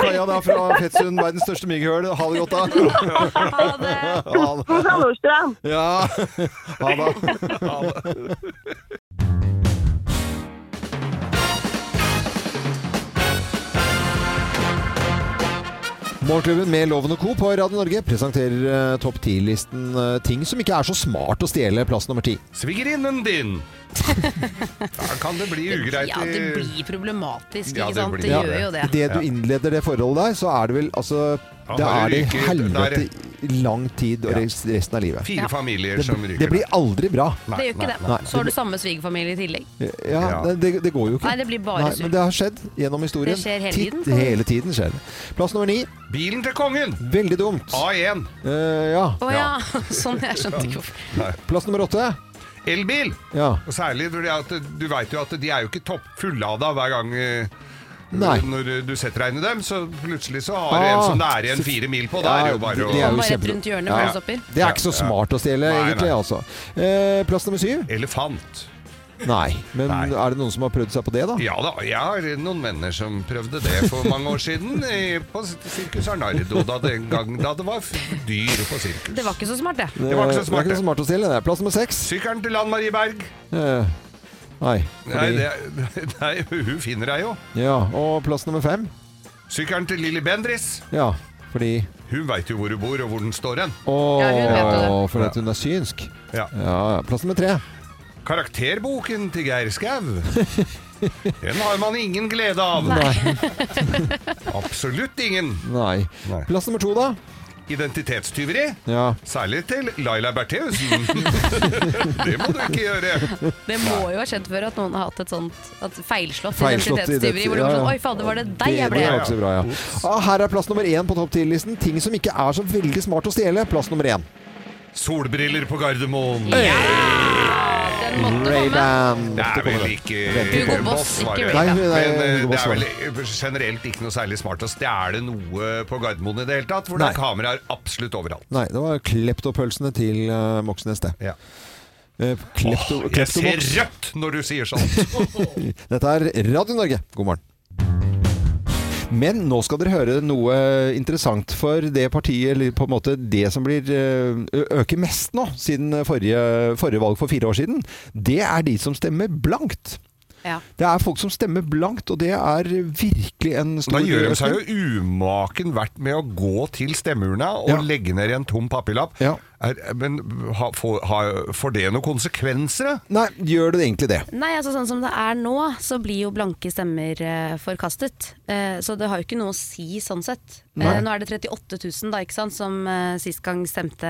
S1: Kaja da, fra Fettsund, verdens største mygghøl. Ha det godt, da. Ha det.
S12: Hos Nordstrand.
S1: Ja. Ha
S3: det.
S1: Morgenklubben med Loven og Co. på Radio Norge presenterer eh, topp ti-listen eh, ting som ikke er så smart å stjele. Plass nummer ti.
S3: Svigerinnen din! Da kan det bli ugreit.
S8: Ja,
S3: i-
S8: det blir problematisk,
S3: Ja,
S8: ikke
S3: det
S8: sant?
S3: blir
S8: Det
S1: Ja,
S8: gjør jo det.
S1: Idet du innleder det forholdet der, så er det vel altså
S3: Ja,
S1: Da
S3: bare
S1: er det
S3: ryker ut.
S1: helvete
S3: Der-
S1: i lang tid og res- resten av livet.
S3: Fire familier
S1: det,
S3: som ryker
S1: Det blir aldri bra.
S8: Det gjør ikke det. Så har du samme svigerfamilie i tillegg.
S1: Ja, det, det, det går jo ikke.
S8: Nei, det blir bare
S1: Nei,
S8: surt.
S1: Men det har skjedd gjennom historien.
S8: Det skjer hele
S1: Titt-
S8: tiden, sa du.
S1: hele tiden skjer det. Plass nummer ni.
S3: Bilen til kongen!
S1: Veldig dumt.
S3: A1.
S1: Eh, ja.
S8: Å ja. Sånn, jeg skjønte ikke hvorfor.
S1: Plass nummer åtte.
S3: Elbil!
S1: Ja.
S3: Og særlig fordi at du veit jo at de er jo ikke topp fullada hver gang eh,
S1: Nei.
S3: Når du setter deg inn i dem, så plutselig så har du
S1: Ah,
S3: en som det er igjen
S1: så-
S3: fire mil på. Da
S1: Ja,
S3: er det jo bare å
S1: det er
S8: Bare
S1: jo
S8: rett
S1: kjempedumt.
S8: rundt hjørnet hvor det stopper.
S1: Det er ikke så
S3: Ja, ja.
S1: smart å stjele,
S3: Nei, nei.
S1: egentlig. altså. Eh, plass nummer syv.
S3: Elefant.
S1: Nei. Men er det noen som har prøvd seg på det, da?
S3: Ja da, jeg har noen venner som prøvde det for mange år siden eh, på Sirkus Arnardo, da, den gang, da det var f- dyr på sirkus.
S8: Det var ikke så smart, det.
S3: Det var ikke så smart,
S1: Eh, det. å stjele, det. Plass nummer seks.
S3: Sykkelen til Lan Marie Berg.
S1: Eh, nei.
S3: Nei,
S1: fordi-
S3: det, nei, hun finner deg jo.
S1: Ja, og plass nummer fem.
S3: Sykkelen til Lilly Bendris.
S1: Ja, fordi
S3: Hun veit jo hvor hun bor og hvor den står hen.
S1: Åh,
S3: Ja, hun vet jo det.
S1: fordi at hun er synsk.
S3: Ja.
S1: ja. Plass nummer tre.
S3: Karakterboken til Geir Skau. Den har man ingen glede av. Absolutt ingen.
S1: Nei. Plass nummer to, da?
S3: Identitetstyveri.
S1: Ja.
S3: Særlig til Laila Bertheussen. det må du ikke gjøre.
S8: Det må jo ha skjedd før at noen har hatt et sånt at feilslått,
S1: Feilslått
S8: identitetstyveri.
S1: identitet-
S8: Hvor det var
S1: ja,
S8: sånn
S1: ja.
S8: Oi, fader, var det deg jeg
S1: Det
S8: ble?
S1: var ikke så bra, ja. Ah, her er plass nummer én på topp 10-listen. Ting som ikke er så veldig smart å stjele. Plass nummer én.
S3: Solbriller på Gardermoen.
S1: Ray-Ban.
S3: Det er vel ikke
S1: Hugo
S3: Boss,
S1: Boss,
S3: var
S1: ikke
S3: det.
S1: Ray-Ban. Nei,
S3: Men
S1: nei,
S3: eh,
S1: Hugo
S3: det
S1: Boss
S3: er
S1: var
S3: vel
S1: det.
S3: eh, generelt ikke noe særlig smart å stjele noe på Gardermoen i det hele tatt, hvor det
S1: Nei.
S3: er kameraer absolutt overalt.
S1: Nei, det var kleptopølsene til eh, Moxnes, det. Eh,
S3: Ja.
S1: klepto,
S3: Jeg ser
S1: kleptoboks.
S3: rødt når du sier sånt.
S1: Dette er Radio Norge. God morgen. Men nå skal dere høre noe interessant for det partiet, eller på en måte det som blir eh, ø, øker mest nå, siden forrige, forrige valg for fire år siden. Det er de som stemmer blankt.
S10: Ja.
S1: Det er folk som stemmer blankt, og det er virkelig en stor
S3: Da gjør de seg jo umaken verdt med å gå til stemmeurna og legge ned i en tom papirlapp. Er, men ha, får- har- får det noen konsekvenser, da?
S1: Nei, gjør det egentlig det?
S2: Nei, altså sånn som det er nå, så blir jo blanke stemmer eh, forkastet. Eh, så det har jo ikke noe å si sånn sett. Eh,
S1: Nei.
S2: nå er det 38 000 da, ikke sant, som eh, sist gang stemte,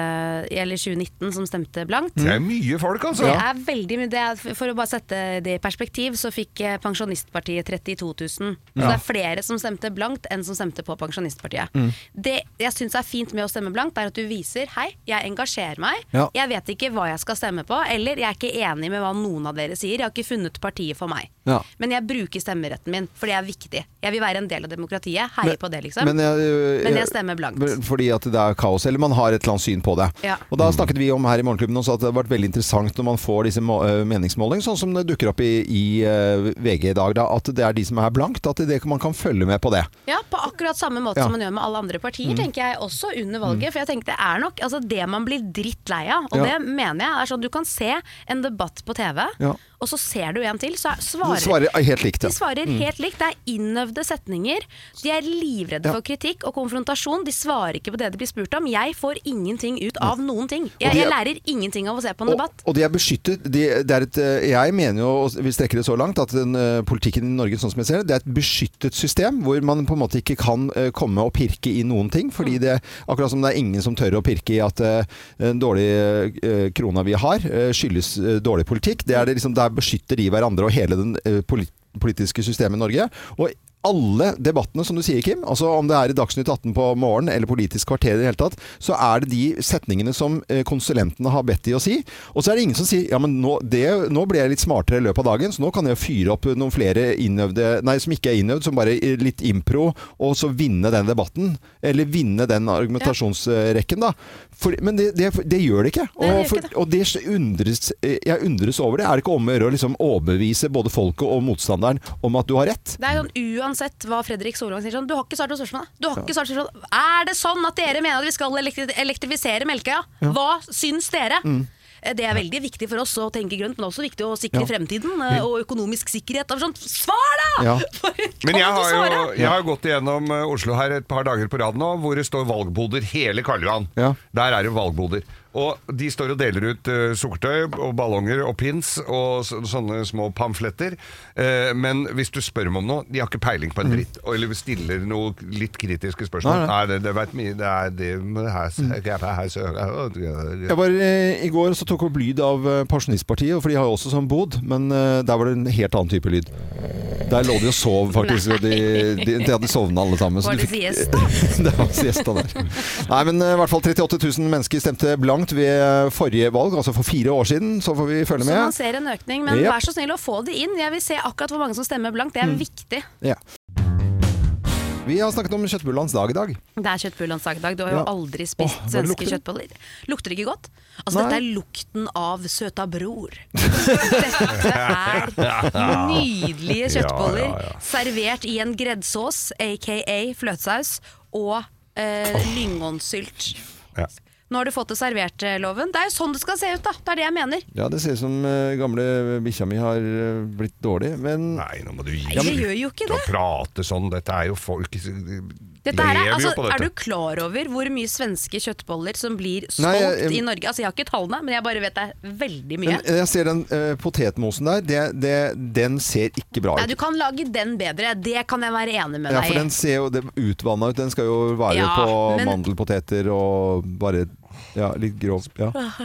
S2: eller 2019, som stemte blankt.
S3: Det
S1: Mm.
S3: er mye folk, altså.
S2: Det er veldig mye. Det er, for å bare sette det i perspektiv, så fikk eh, Pensjonistpartiet 32 000. Så
S13: Ja.
S2: det er flere som stemte blankt enn som stemte på Pensjonistpartiet.
S13: Mm.
S2: Det jeg syns er fint med å stemme blankt, er at du viser hei, jeg engasjerer meg.
S13: Ja.
S2: Jeg vet ikke hva jeg skal stemme på, eller jeg er ikke enig med hva noen av dere sier. Jeg har ikke funnet partiet for meg.
S1: Ja.
S2: Men jeg bruker stemmeretten min, for det er viktig. Jeg vil være en del av demokratiet. Heier på det, liksom.
S1: Men jeg,
S2: Men jeg stemmer blankt.
S1: Fordi at det er kaos, eller man har et eller annet syn på det.
S2: Ja.
S1: Og da snakket vi om her i Morgenklubben også at det har vært veldig interessant når man får disse må- øh, meningsmålingene, sånn som det dukker opp i, i øh, VG i dag, da, at det er de som er blankt, at det, man kan følge med på det.
S2: Ja, på akkurat samme måte
S1: Ja.
S2: som man gjør med alle andre partier,
S1: Mm.
S2: tenker jeg også under valget. For jeg tenker det er nok altså, det man blir drittlei av, og
S1: Ja.
S2: det mener jeg er sånn du kan se en debatt på TV,
S1: Ja.
S2: og så ser du en til, så er-
S1: De
S2: svarer
S1: svarer helt likt. ja.
S2: De svarer
S1: Mm.
S2: helt likt. Det er innøvde setninger. De er livredde
S1: Ja.
S2: for kritikk og konfrontasjon. De svarer ikke på det de blir spurt om. Jeg får ingenting ut av noen ting. Jeg,
S1: de er-
S2: jeg lærer ingenting av å se på en debatt.
S1: Og de er beskyttet. De, det er et, eh, jeg mener jo, og vi strekker det så langt, at den, eh, politikken i Norge sånn som jeg ser det, det er et beskyttet system hvor man på en måte ikke kan eh, komme og pirke i noen ting. fordi det, Akkurat som det er ingen som tør å pirke i at eh, den dårlige eh, krona vi har, eh, skyldes eh, dårlig politikk. Det er det liksom, der beskytter de hverandre og hele den eh, polit politiske systemet i Norge. Og alle debattene, som du sier, Kim, altså om det er i Dagsnytt 18 på morgenen eller Politisk kvarter i det hele tatt, så er det de setningene som eh, konsulentene har bedt de å si. Og så er det ingen som sier ja, men nå, det, nå ble jeg litt smartere i løpet av dagen, så nå kan jeg fyre opp noen flere innøvde Nei, som ikke er innøvd, som bare eh, litt impro, og så vinne den debatten. Eller vinne den argumentasjonsrekken, da. For, men det, det, det gjør det ikke. Og,
S2: Nei, det gjør ikke
S1: for, og det undres, eh, jeg undres over det. Er det ikke om å gjøre å liksom overbevise både folket og motstanderen om at du har rett?
S2: Det er sånn Uansett hva Fredrik Solvang sier sånn, Du har ikke svart på spørsmålet. Du har ikke svart på spørsmålet. Er det sånn at dere mener at vi skal elektri elektrifisere Melkøya?
S1: Ja.
S2: Hva syns dere?
S1: Mm.
S2: Eh, Det er veldig viktig for oss å tenke grønt, men også viktig å sikre
S1: Ja. Mm.
S2: fremtiden eh, og økonomisk sikkerhet. Og sånn. Svar, da!
S1: Ja.
S3: Men jeg
S2: Kan
S3: har,
S2: du
S3: jo,
S2: svare?
S3: jeg har gått igjennom eh, Oslo her et par dager på rad nå, hvor det står valgboder hele Karl Johan. Der er det valgboder. Og de står og deler ut eh, sukkertøy og ballonger og pins og så, sånne små pamfletter. Eh, men hvis du spør dem om noe, de har ikke peiling på en
S1: Mm.
S3: dritt. og- Eller stiller noe litt kritiske spørsmål.
S1: Nei,
S3: Nei, det, det vet mye, det er det men det her, det her,
S1: Jeg var eh, I går så tok opp lyd av eh, Pensjonistpartiet, for de har jo også sånn bod, men eh, der var det en helt annen type lyd. Der lå de og sov, faktisk. og De, de, de hadde sovna alle sammen. så
S2: Var
S1: du
S2: det
S1: fikk-
S2: siesta?
S1: det var siesta der. Nei, men eh, i hvert fall 38 000 mennesker stemte blankt ved forrige valg, altså for fire år siden. Så får vi følge
S2: Så
S1: med.
S2: man ser en økning, men
S1: Jep.
S2: vær så snill å få det inn. Jeg vil se akkurat hvor mange som stemmer blankt. Det er
S1: Mm.
S2: viktig.
S1: Ja. Vi har snakket om kjøttbullenes dag i dag.
S2: Det er kjøttbullenes dag i dag. Du har jo
S1: Ja.
S2: aldri spist
S1: Åh, hva
S2: svenske
S1: lukter det?
S2: kjøttboller. Lukter det ikke godt? Altså,
S1: Nei.
S2: dette er lukten av søta bror. dette er nydelige kjøttboller
S13: Ja, ja, ja.
S2: servert i en greddsås, aka fløtesaus, og eh, lyngonssylt. Nå har du fått det servert, eh, Loven. Det er jo sånn det skal se ut, da. Det er det jeg mener.
S1: Ja, det ser ut som eh, gamle bikkja mi har eh, blitt dårlig, men
S3: Nei, nå må du gi
S2: Nei, det gjør jo ikke
S3: Slutt å
S2: det.
S3: prate sånn. Dette er jo folk De
S2: Dette her er,
S3: lever jo
S2: altså,
S3: på
S2: er
S3: dette.
S2: du klar over hvor mye svenske kjøttboller som blir solgt
S1: Nei,
S2: i
S1: jeg-
S2: Norge? Altså, jeg har ikke tallene, men jeg bare vet det er veldig mye.
S1: Men jeg ser den eh, potetmosen der, det, det, den ser ikke bra
S2: Nei,
S1: ut.
S2: du kan lage den bedre, det kan jeg være enig med
S1: Ja,
S2: deg
S1: for
S2: i.
S1: den ser jo utvanna ut. Den skal jo være
S2: Ja,
S1: på
S2: men-
S1: mandelpoteter og bare ja, litt grov. Ja.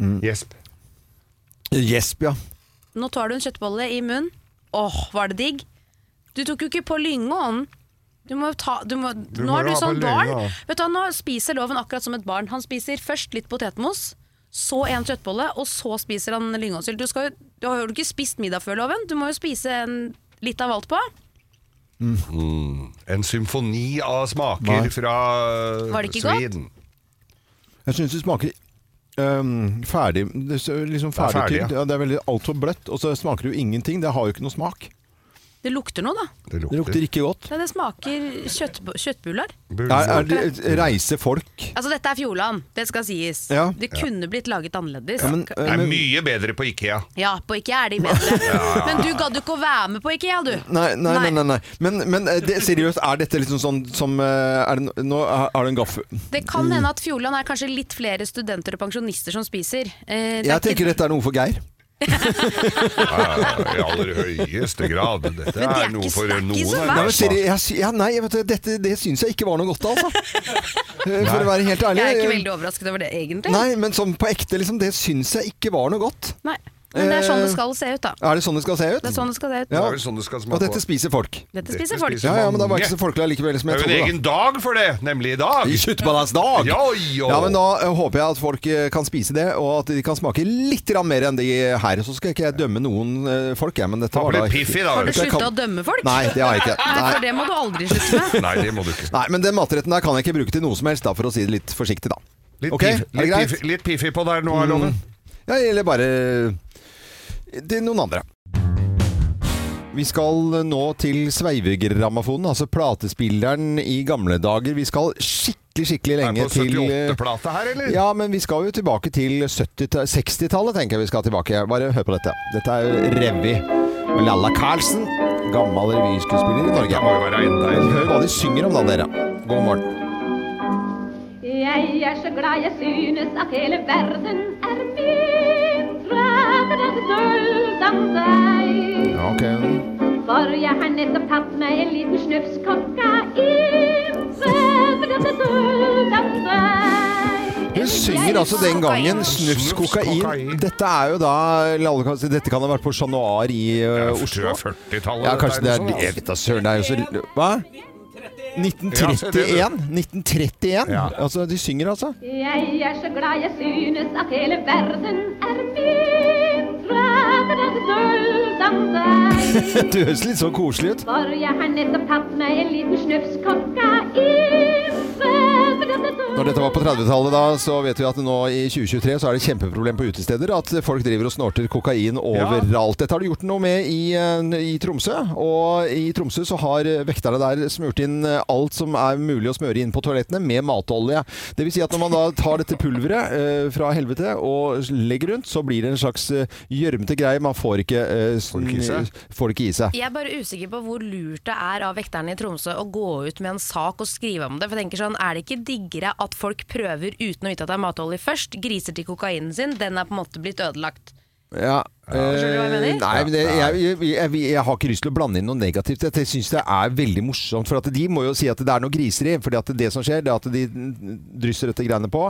S1: Mm.
S3: Gjesp.
S1: Gjesp, ja.
S2: Nå tar du en kjøttbolle i munnen. Åh, var det digg? Du tok jo ikke på lyngåen. Du må jo ta, du må,
S13: Du
S2: nå
S13: må
S2: er du
S13: jo ha
S2: sånn
S13: på
S2: barn.
S13: lynga.
S2: Vet du, hva, nå spiser loven akkurat som et barn. Han spiser først litt potetmos, så en kjøttbolle, og så spiser han lyngåssylt. Du, skal jo- du har jo ikke spist middag før, loven. Du må jo spise en, litt av alt på.
S3: Mm. En symfoni av smaker
S1: Nei.
S3: fra eh,
S2: Var det ikke godt?
S3: Sweden.
S1: Jeg syns det smaker ehm, ferdig det er så- Liksom
S3: er ferdig,
S1: ferdigtygd.
S3: ja.
S1: Ja, det er veldig altfor bløtt, og så smaker det jo ingenting. Det har jo ikke noe smak.
S14: Det lukter noe, da.
S3: Det lukter.
S1: Det lukter ikke godt.
S14: Ja, det smaker kjøtt, kjøttbuller.
S1: Er, er det, reiser folk
S14: Altså, dette er Fjordland, det skal sies.
S1: Ja.
S14: Det kunne blitt laget annerledes.
S3: Ja, det
S13: eh,
S1: eh,
S3: er mye bedre på Ikea.
S14: Ja, på IKEA er de bedre.
S3: Ja.
S14: Men du gadd jo ikke å være med på IKEA, du.
S1: Nei, nei, nei. nei, nei. Men, men eh, det, seriøst, er dette liksom sånn som eh, er det, no- Nå har du en gaffel.
S14: Det kan
S1: Mm.
S14: hende at Fjordland er kanskje litt flere studenter og pensjonister som spiser. Eh, det er
S1: Jeg
S14: ikke-
S1: tenker dette er noe for Geir.
S3: I aller høyeste grad. Dette
S1: Men det er
S3: er noe
S1: ikke-
S3: for
S1: det er
S3: noen.
S1: ikke så
S3: her,
S1: verst. Nei, men
S3: altså.
S1: Siri, jeg, sy- ja, nei, jeg vet, du, dette, det syns jeg ikke var noe godt, altså. Eh, For
S3: Nei.
S1: å være helt ærlig.
S14: Jeg er ikke
S1: eh,
S14: veldig overrasket over det, egentlig.
S1: Nei, men sånn på ekte, liksom. Det syns jeg ikke var noe godt.
S14: Nei. Men det er sånn det
S1: Eh,
S14: skal se ut, da.
S1: Er det sånn det skal se ut?
S14: Det er sånn det skal se ut.
S1: Ja.
S14: Det er vel sånn det skal smake
S1: Og dette
S14: også.
S1: spiser folk.
S14: Dette spiser folk.
S1: Ja, ja, men da var jeg ikke så folkelig likevel som
S3: Det er
S1: jeg
S3: jo en
S1: trodde.
S3: egen dag for det, nemlig i dag.
S1: I sluttbalansdag!
S3: Ja, ja.
S1: Ja, men da eh, håper jeg at folk eh, kan spise det, og at de kan smake litt grann mer enn de her. Så skal ikke jeg dømme noen eh, folk, jeg, men dette
S3: Ta på
S1: var da
S3: litt piff i, da,
S14: Har du
S1: Dette
S14: slutta
S1: kan-
S14: å dømme folk?
S1: Nei, det har jeg ikke.
S14: Nei, for det må du aldri slutte med.
S3: Nei, det må du ikke.
S1: Nei, men den matretten der kan jeg ikke bruke til noe som helst, da, for å si det litt forsiktig, da.
S3: Litt,
S1: Ok,
S3: piff,
S1: er det
S3: litt,
S1: greit?
S3: piff, litt piffi på der nå, er loven.
S1: Ja, eller bare eh, til noen andre. Vi skal nå til sveivegrammafonen, altså platespilleren i gamle dager. Vi skal skikkelig, skikkelig lenge
S3: på
S1: til eh,
S3: 78-plata her, eller?
S1: Ja, men vi skal jo tilbake til 70-ta- 60-tallet, tenker jeg vi skal tilbake. Bare hør på dette. Dette er jo revy. med Lalla Carlsen, gammel revyskuespiller i Norge.
S3: må jo være enda en.
S1: Hør hva de synger om da, dere. God morgen.
S13: Jeg er så glad jeg synes at hele verden er min Fra den sølv som deg
S1: Ja, ok.
S13: For jeg har nettopp tatt meg en liten snufs kokain Fra den sølv som deg
S1: Hun synger altså den gangen snufs kokain. Dette er jo da Lalle kan si, Dette kan ha vært på Chat Noir i uh, Oslo.
S3: 40-tallet.
S1: Ja, kanskje det er
S3: eller noe sånt,
S1: Jeg
S3: altså.
S1: vet da søren, det er jo så Hva?
S3: Ja, se det,
S1: 1931? 1931? Altså, de synger altså.
S13: Jeg er så glad jeg synes at hele verden er min Fra den sølv som deg
S1: Det høres litt så koselig ut.
S13: For jeg har nettopp tatt meg en liten snufs kokain fra denne
S1: Når dette var på 30-tallet, da, så vet vi at nå i 2023 så er det kjempeproblem på utesteder. At folk driver og snorter kokain overalt. Dette har du gjort noe med i, eh, i Tromsø. Og i Tromsø så har eh, vekterne der smurt inn eh, alt som er mulig å smøre inn på toalettene med matolje. Det vil si at når man da tar dette pulveret eh, fra helvete og legger rundt, så blir det en slags eh, gjørmete greie. Man får ikke, eh,
S3: ikke i seg?
S1: sn- får det ikke i seg.
S2: Jeg er bare usikker på hvor lurt det er av vekterne i Tromsø å gå ut med en sak og skrive om det. For jeg tenker sånn, Er det ikke diggere at folk prøver uten å vite at det er matolje først, griser til kokainen sin, den er på en måte blitt ødelagt?
S1: Ja.
S2: Skjønner du hva jeg
S1: eh,
S2: mener?
S1: Nei, men det, jeg, jeg, jeg, jeg har ikke lyst til å blande inn noe negativt. Jeg syns det er veldig morsomt. For at de må jo si at det er noe griseri. For det som skjer, det er at de drysser dette greiene på,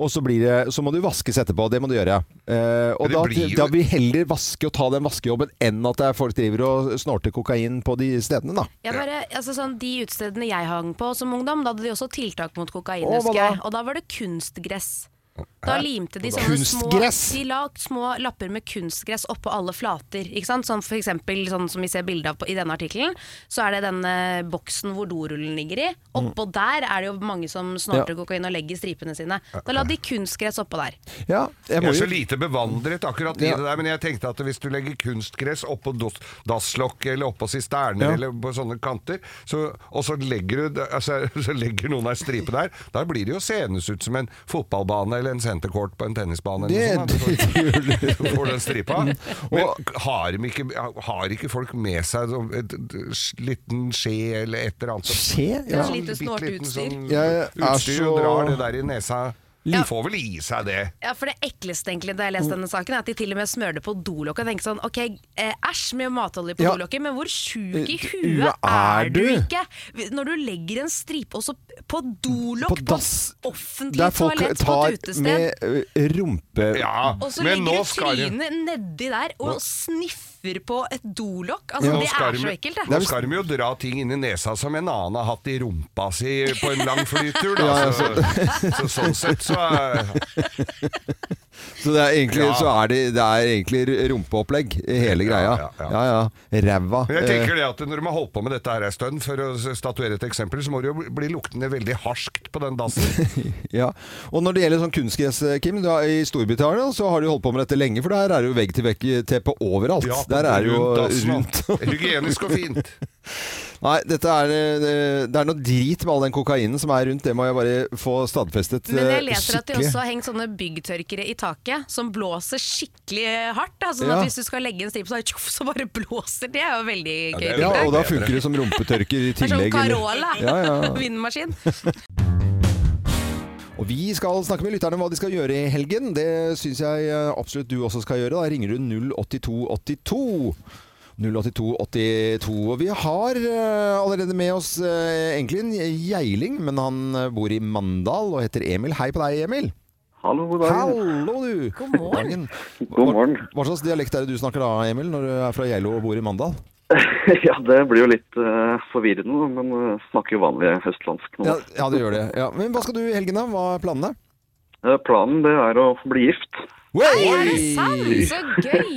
S1: og så, blir det, så må du vaskes etterpå. Det må du gjøre. Eh, og
S3: Men det
S1: da,
S3: blir jo-
S1: da vil vi heller vaske og ta den vaskejobben enn at det er folk driver og snorter kokain på de stedene, da.
S2: Jeg bare, altså sånn, De utestedene jeg hang på som ungdom, da hadde de også tiltak mot kokain.
S1: Å, hva
S2: husker
S1: da?
S2: jeg. Og da var det kunstgress. Da
S1: Hæ?
S2: limte de
S1: Hva da?
S2: sånne små,
S1: Kunstgress?
S2: de la små lapper med kunstgress oppå alle flater. Ikke sant? Sånn for eksempel, sånn som vi ser bilde av på, i denne artikkelen, så er det denne boksen hvor dorullen ligger i. Oppå der er det jo mange som snorter
S1: Mm. Ja.
S2: kokain og legger stripene sine. Da la de kunstgress oppå der.
S1: Ja, jeg
S3: Jeg
S1: må
S3: er så
S1: jo
S3: lite bevandret akkurat i
S1: Ja.
S3: det der, men jeg tenkte at hvis du legger kunstgress oppå dos- dasslokk eller oppå sisterner
S1: Ja.
S3: eller på sånne kanter, så, og så legger, du, altså, så legger noen ei stripe der, da blir det jo senes ut som en fotballbane eller en centercourt på en tennisbane.
S1: Det-
S3: Eller noe sånt, da. du, får, du får den stripa. Men har, de ikke, har ikke folk med seg så- et, et, et liten skje eller et eller annet?
S1: Skje? Ja.
S3: Sånn
S1: Lite
S3: bitte liten
S2: snorteutstyr.
S3: sånn
S1: Jeg er
S3: Utstyr og
S1: så-
S3: drar det der i nesa.
S1: Ja.
S3: De får vel i seg det.
S2: Ja, for det ekleste egentlig da jeg leste denne saken, er at de til og med smører det på dolokket. Jeg tenker sånn, ok, eh, æsj med matolje på
S1: Ja.
S2: dolokket, men hvor sjuk i
S1: Eh,
S2: huet
S1: er
S2: er du
S1: du?
S2: ikke? Når du legger en stripe også på
S1: På
S2: dolokk, på,
S1: dass.
S2: offentlig
S1: Der folk
S2: toalett, på
S1: tar
S2: et utested,
S1: med ø, rumpe...
S2: og så ligger du trynet nedi der og sniffer på et dolokk. Altså,
S3: Nå
S2: det
S3: skal
S2: er
S3: de-
S2: så ekkelt,
S3: Nå
S2: det.
S3: skal de jo dra ting inn i nesa som en annen har hatt i rumpa si på en lang flytur. Da.
S1: Ja, ja,
S3: Så, så sånn sett så er-
S1: Så det er egentlig,
S3: Ja.
S1: så er det, det er egentlig rumpeopplegg, hele greia.
S3: Ja, ja,
S1: Ja, ja. Ræva. eh,
S3: Men jeg tenker det at Når de har holdt på med dette her en stund, for å statuere et eksempel, så må det jo bli- bli luktende veldig harskt på den dassen.
S1: Ja. Og når det gjelder sånn kunstgress, Kim, da, i Storbritannia så har de holdt på med dette lenge, for der er det jo vegg-til-vegg-teppe eh, overalt.
S3: Ja, på
S1: der er det jo
S3: rundt altså. dassen,
S1: rundt.
S3: da. Hygienisk og fint.
S1: Nei, dette er, eh, det er noe drit med all den kokainen som er rundt, det må jeg bare få stadfestet
S15: Men jeg
S1: eh,
S15: leser at de
S1: skikkelig.
S15: også har hengt sånne byggtørkere i taket som blåser skikkelig hardt. Da, sånn
S1: Ja.
S15: at hvis du skal legge en stripe, så, er det tjoff, så bare blåser det. Det er jo veldig gøy.
S1: Ja, og da funker det som rumpetørker i
S15: Det er sånn
S1: tillegg. eller-
S15: Carola.
S1: Ja, ja.
S15: Vindmaskin.
S1: Og vi skal snakke med lytterne om hva de skal gjøre i helgen. Det syns jeg eh, absolutt du også skal gjøre. Da ringer du 08282. 08282. Og vi har eh, allerede med oss eh, egentlig en geiling, men han eh, bor i Mandal og heter Emil. Hei på deg, Emil.
S16: Hallo, god dag.
S1: Hallo, du. God morgen.
S16: God morgen.
S1: Hva, hva slags dialekt er det du snakker da, Emil, når du er fra Geilo og bor i Mandal?
S16: ja, det blir jo litt eh, forvirrende, da, men eh, snakker jo vanlig østlandsk nå.
S1: Ja, ja det gjør det. Ja. Men hva skal du i helgen, da? Hva er planene?
S16: Eh, planen det er å bli gift.
S3: gøy!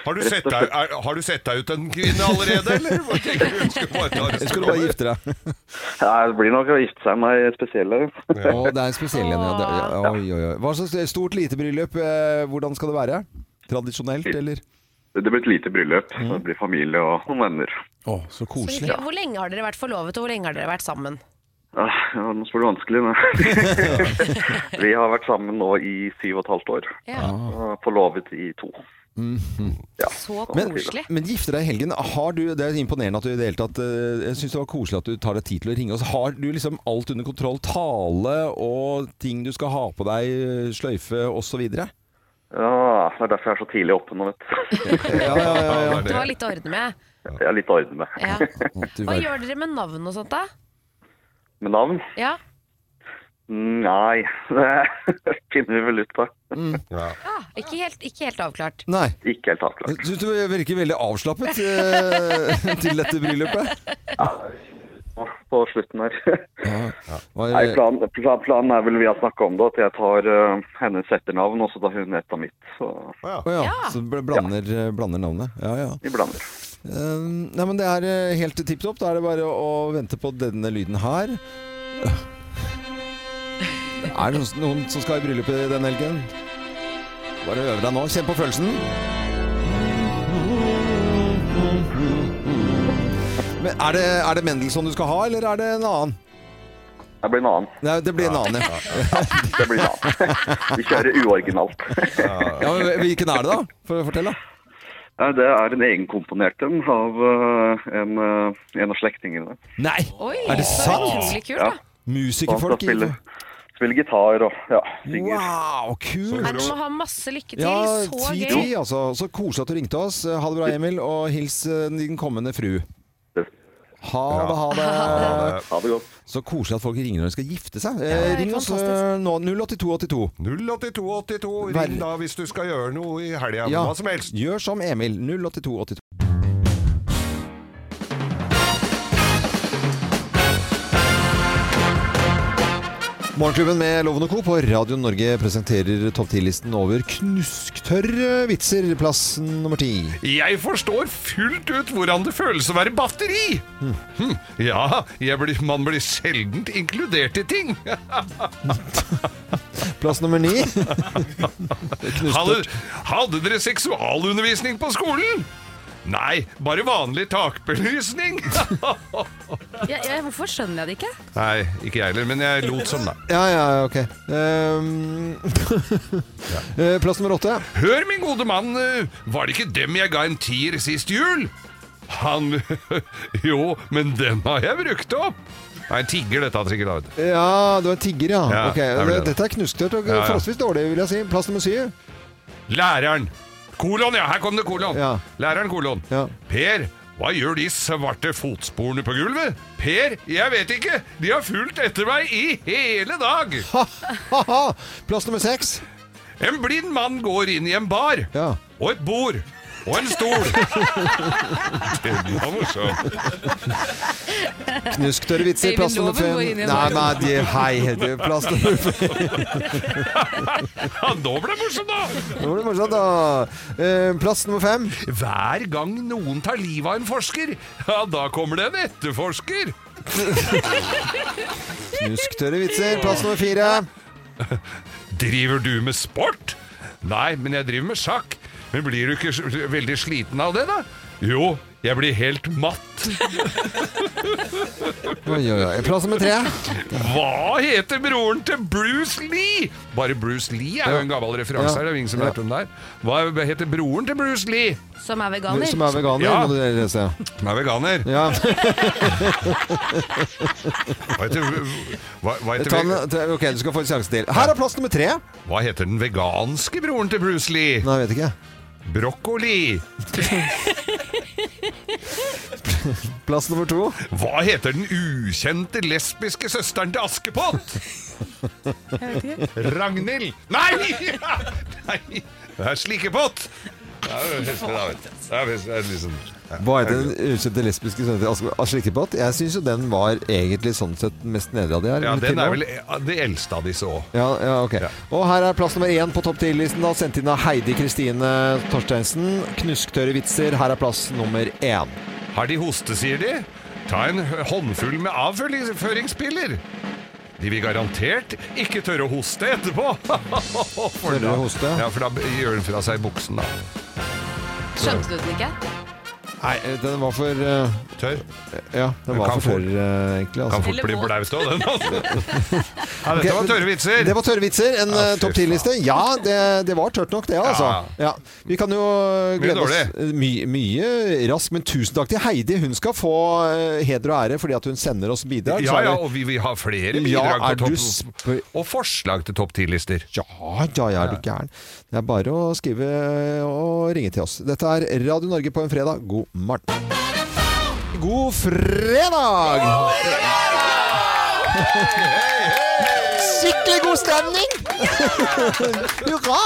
S3: Har du sett deg, er, har du sett deg ut en kvinne allerede, eller? Hva tenker du? Skal du bare ta det
S1: Skal du bare gifte deg?
S16: Ja, det blir nok å gifte seg med ei spesiell en.
S1: Å, det er en spesiell en, ja. Det, ja. Oi, oi, oi. Hva slags stort lite bryllup? eh, Hvordan skal det være? Tradisjonelt, eller?
S16: Det blir et lite bryllup. så Det blir familie og noen venner.
S1: Å, så
S16: koselig.
S15: Hyggelig. Hvor lenge har dere vært forlovet, og hvor lenge har dere vært sammen?
S16: Ja, ja, nå spør du vanskelig. Men. Vi har vært sammen nå i syv og et halvt år.
S15: Ja.
S1: Ah.
S16: Og Forlovet i to.
S15: Så
S1: Mm. Men,
S15: koselig.
S1: men gifte deg i helgen. Har du, det er imponerende at du i det hele tatt eh, Jeg syns det var koselig at du tar deg tid til å ringe oss. Har du liksom alt under kontroll? Tale og ting du skal ha på deg, eh, sløyfe osv.?
S16: Ja, Det er derfor jeg er så tidlig oppe nå, vet du.
S1: Ja, ja, ja, ja.
S15: Du har litt å ordne med.
S16: Jeg er litt orden med.
S15: Ja. Hva gjør dere med navn og sånt, da?
S16: Med navn?
S15: Ja.
S16: Nei, det finner vi vel ut av.
S1: Mm.
S15: Ah, ikke, helt, ikke helt avklart.
S1: Nei.
S16: Ikke helt avklart.
S1: Jeg syns Eh, du virker veldig avslappet eh, til dette bryllupet.
S16: På slutten her.
S1: Hva
S16: Nei, planen, plan- planen er vel vi har snakka om det, at jeg tar eh, hennes etternavn, og så tar hun et av mitt. Så
S1: Å ja. Så bl- blander, eh, blander navnet. Ja, ja.
S16: vi blander.
S1: Eh, nei, men det er eh, helt tipp topp. Da er det bare å, å vente på denne lyden her. Det er noen, noen som skal i bryllupet den helgen. Bare øve deg nå. Kjenn på følelsen. Men er det, er det Mendelssohn du skal ha, eller er det en annen?
S16: Det blir en annen.
S1: Nei, det blir en annen, ja.
S16: Det blir en annen. Vi kjører uoriginalt.
S1: ja men hvilken er det, da? For å fortelle.
S16: Nei, Det er en egenkomponert en av eh, en, eh, en av slektningene.
S1: Nei! er det sant?
S16: Så han
S1: Musikerfolk.
S16: skal spille, spille gitar og ja, synger.
S1: Wow, kult!
S15: Nei, du må ha masse lykke til.
S1: Ja,
S15: så
S1: ti,
S15: gøy.
S1: ti, altså. Så koselig at du ringte oss. Ha det bra, Emil, og hils eh, din kommende fru. Ha det, ha det.
S16: Ha det godt.
S1: Så koselig at folk ringer når de skal gifte seg.
S3: Ja,
S1: Eh,
S3: det er
S1: ring oss eh,
S3: fantastisk.
S1: nå. 08282.
S3: 08282,
S1: Vær-
S3: ring da hvis du skal gjøre noe i helga.
S1: Ja,
S3: Hva som helst.
S1: gjør som Emil. 08282. Morgenklubben med Loven og Co. på Radio Norge presenterer topp 10-listen over knusktørre vitser. Plass nummer ti.
S3: Jeg forstår fullt ut hvordan det føles å være batteri. Hm. Ja, jeg blir, man blir sjeldent inkludert i ting.
S1: Plass nummer ni.
S3: hadde, hadde dere seksualundervisning på skolen? Nei, bare vanlig takbelysning.
S15: Ja, ja, hvorfor skjønner jeg det ikke?
S3: Nei, ikke jeg heller, men jeg lot som, da.
S1: Ja, ja, ok. Ehm, eh, Plass nummer åtte.
S3: Hør, min gode mann, eh, var det ikke dem jeg ga en tier sist jul? Han Jo, men den har jeg brukt opp. Nei, tigger dette sikkert. da, vet du.
S1: Ja, du er tigger, ja.
S3: Ja,
S1: Ok,
S3: det er vel det.
S1: Dette er knusktørt og
S3: Ja, ja.
S1: forholdsvis dårlig, vil jeg si. Plass nummer syv.
S3: Læreren. Kolon, ja. Her kom det kolon. Læreren kolon. Per, hva gjør de svarte fotsporene på gulvet? Per, jeg vet ikke. De har fulgt etter meg i hele dag.
S1: Plass nummer seks.
S3: En blind mann går inn i en bar og et bord. og en stol! Det var morsomt.
S1: Knusktørre vitser.
S3: Øyvind
S1: Plass nummer
S3: Loven
S1: fem.
S3: går inn i en
S1: Nei, nei,
S3: bakgrunn.
S1: de, hei, det er plass nummer fem.
S3: Ja, nå ble det morsomt, da!
S1: Nå blir det morsomt, da. Eh, Plass nummer fem.
S3: Hver gang noen tar livet av en forsker, ja, da kommer det en etterforsker!
S1: Knusktørre vitser. Plass nummer fire.
S3: Driver du med sport? Nei, men jeg driver med sjakk. Men blir du ikke s- veldig sliten av det, da? Jo, jeg blir helt matt.
S1: Oi, oi, oi. Plass nummer tre.
S3: Hva heter broren til Bruce Lee? Bare Bruce Lee er jo en gammel referanse
S1: Ja.
S3: her. Det er ingen som
S1: Ja.
S3: vet om det er. Hva heter broren til Bruce Lee?
S15: Som er veganer.
S1: Som er veganer,
S3: Ja.
S1: må du lese.
S3: Som er veganer.
S1: Ja.
S3: Hva heter, hva, hva heter,
S1: Ta den- ta- ok, du skal få en sjanse til. Her er plass nummer tre.
S3: Hva heter den veganske broren til Bruce Lee?
S1: Nei, jeg vet ikke.
S3: Brokkoli.
S1: Plass nummer to.
S3: Hva heter den ukjente lesbiske søsteren til Askepott?
S10: Jeg vet ikke.
S3: Ragnhild. Nei! Nei! Det er slikepott! Det er jo helt- det er- det er- det er liksom
S1: Hva heter den ukjente lesbiske sønnen til Aske- Aske Likkepott? Jeg syns jo den var egentlig sånn sett mest nede av de her.
S3: Ja,
S1: eller
S3: den er
S1: tilbake.
S3: vel det eldste av disse òg.
S1: Ja, ja, ok. Og her er plass nummer én på topp 10-listen, da, sendt inn av Heidi Kristine Torsteinsen. Knusktørre vitser. Her er plass nummer én.
S3: Har de hoste, sier de? Ta en håndfull med avføringspiller. De vil garantert ikke tørre å hoste etterpå. For
S1: Tørre å hoste?
S3: Ja, for da gjør den fra seg buksen, da.
S15: Skjønte du den ikke?
S1: Nei, eh, den var for eh,
S3: Tørr?
S1: Ja, den var
S3: Kan
S1: for
S3: fort-
S1: tørr, eh, egentlig.
S3: Kan fort bli blaut òg, den. Altså. Ja,
S1: Ok,
S3: dette var
S1: men-
S3: tørre vitser.
S1: Det var tørre vitser. En
S3: Ja,
S1: eh,
S3: fy
S1: topp 10-liste. Ja, det, det var tørt nok, det, altså.
S3: Ja.
S1: Ja. Vi kan jo eh, glede oss
S3: dårlig.
S1: my, mye raskt, men tusen takk til Heidi. Hun skal få eh, heder og ære fordi at hun sender oss bidrag.
S3: Ja,
S1: Så er
S3: ja,
S1: det-
S3: og vi vil ha flere
S1: Ja,
S3: bidrag
S1: er
S3: på
S1: du
S3: topp Og forslag til topp 10-lister.
S1: Ja, ja, ja, er du gæren. Det er bare å skrive og ringe til oss. Dette er Radio Norge på en fredag. God morgen. God fredag! Skikkelig god stemning! Hurra!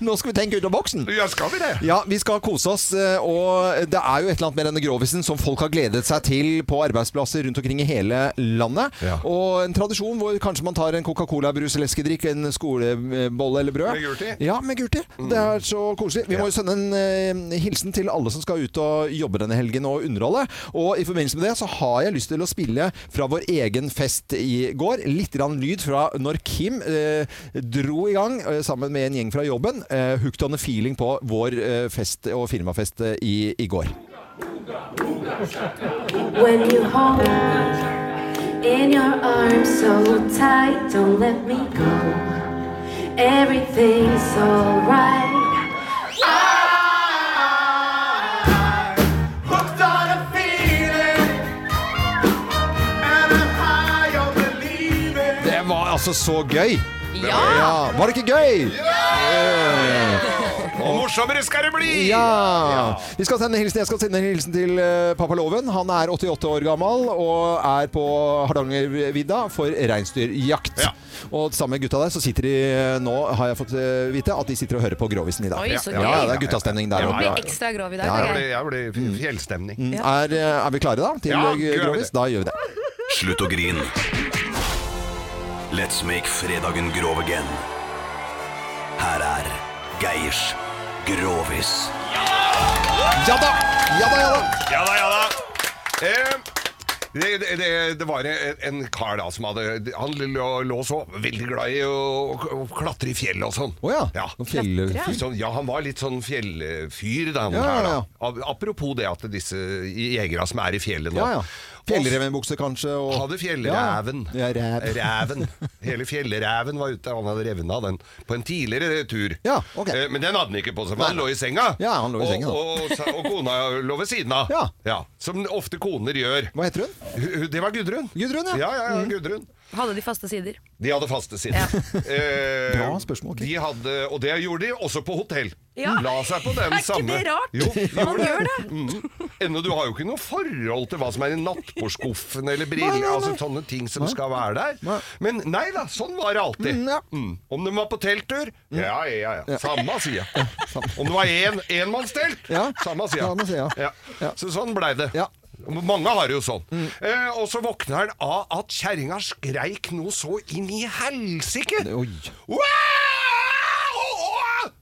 S1: Nå skal vi tenke ut av boksen.
S3: Ja, skal vi det?
S1: Ja, vi skal kose oss. eh, Og det er jo et eller annet med denne grovisen som folk har gledet seg til på arbeidsplasser rundt omkring i hele landet. Og en tradisjon hvor kanskje man tar en Coca-Cola, brus eller leskedrikk, en skolebolle eller brød.
S3: Med gult i.
S1: Ja, med gult i. Det er så koselig. Vi må jo sende en eh, hilsen til alle som skal ut og jobbe denne helgen og underholde. Og i forbindelse med det så har jeg lyst til å spille fra vår egen fest i går. Litt grann lyd fra når Kim eh, dro i gang eh, sammen med en gjeng fra jobben. Eh, hooked on a feeling på vår eh, fest og firmafest eh, i, i går.
S17: When you hold in your arms so tight, don't let me go. Everything's alright.
S10: Hooked on a feeling, and I'm high on believing.
S1: Det var altså så gøy!
S10: Ja!
S1: Var det ikke gøy? Eh,
S3: Og morsommere skal det bli!
S1: Ja! Vi skal sende en hilsen, jeg skal sende en hilsen til eh, pappa Loven. Han er 88 år gammel og er på Hardangervidda for reinsdyrjakt. Og sammen med gutta der så sitter de eh, nå, har jeg fått eh, vite, at de sitter og hører på Grovisen i dag.
S15: Oi, så
S1: ja,
S15: gøy.
S1: ja, det er guttastemning der
S15: Du
S1: oppe.
S15: blir ekstra grov i dag.
S1: Ja, ja.
S15: Geir.
S3: Jeg blir fjellstemning.
S1: Mm, Er, eh, er vi klare da til
S18: Ja,
S1: eh,
S18: gjør vi
S1: Grovis?
S18: det.
S1: Da gjør vi det.
S18: Slutt å grine. Let's make fredagen grov again. Her er Geirs Grovis.
S1: Ja da! Ja da, ja da!
S3: Ja da, ja da. Eh, det, det- det, det var en, en kar da som hadde Han lå, lå så veldig glad i å, å klatre i fjellet og sånn.
S1: Å ja.
S3: Fjell,
S1: Fjellfyr.
S3: sånn. Ja, han var litt sånn fjellfyr, da. Han
S1: Ja,
S3: her,
S1: ja, ja.
S3: da. Ap- Apropos det at disse jegerne som er i fjellet nå
S1: Ja, ja. Fjellrevenbukse kanskje? Og...
S3: Hadde fjellreven.
S1: Ja, ja, ræv.
S3: Ræven. Hele fjellreven var ute. Han hadde revna den på en tidligere tur. Eh, Men den hadde han ikke på seg, for han lå i senga.
S1: Ja, han lå i
S3: og,
S1: senga, da.
S3: Og, sa- og kona lå ved siden av. Ja. Som ofte koner gjør.
S1: Hva heter hun?
S3: Det var Gudrun.
S1: Gudrun, ja.
S3: Ja, ja, ja
S1: Mm.
S3: Gudrun.
S9: Hadde de faste sider?
S3: De hadde faste sider. Eh,
S1: Bra spørsmål,
S3: de hadde, og det gjorde de også på hotell.
S9: Ja.
S3: La seg på den
S9: Er ikke
S3: samme
S9: det rart?
S3: Jo,
S9: Man
S3: gjorde
S9: gjør
S3: Mm. Ennå, du har jo ikke noe forhold til hva som er i nattbordskuffen eller briller,
S1: Nei, nei, nei.
S3: altså sånne ting som
S1: Nei.
S3: skal være der. Men nei da, sånn var det alltid. Mm. Om de var på telttur,
S1: Mm.
S3: ja ja ja, samme sida. Om det var en, enmannstelt, samme
S1: Samme
S3: sida.
S1: sida.
S3: Ja. Så sånn blei det. Mange har det jo sånn.
S1: Mm.
S3: Eh, og så våkner han av at kjerringa skreik noe så inn i helsike! Wow!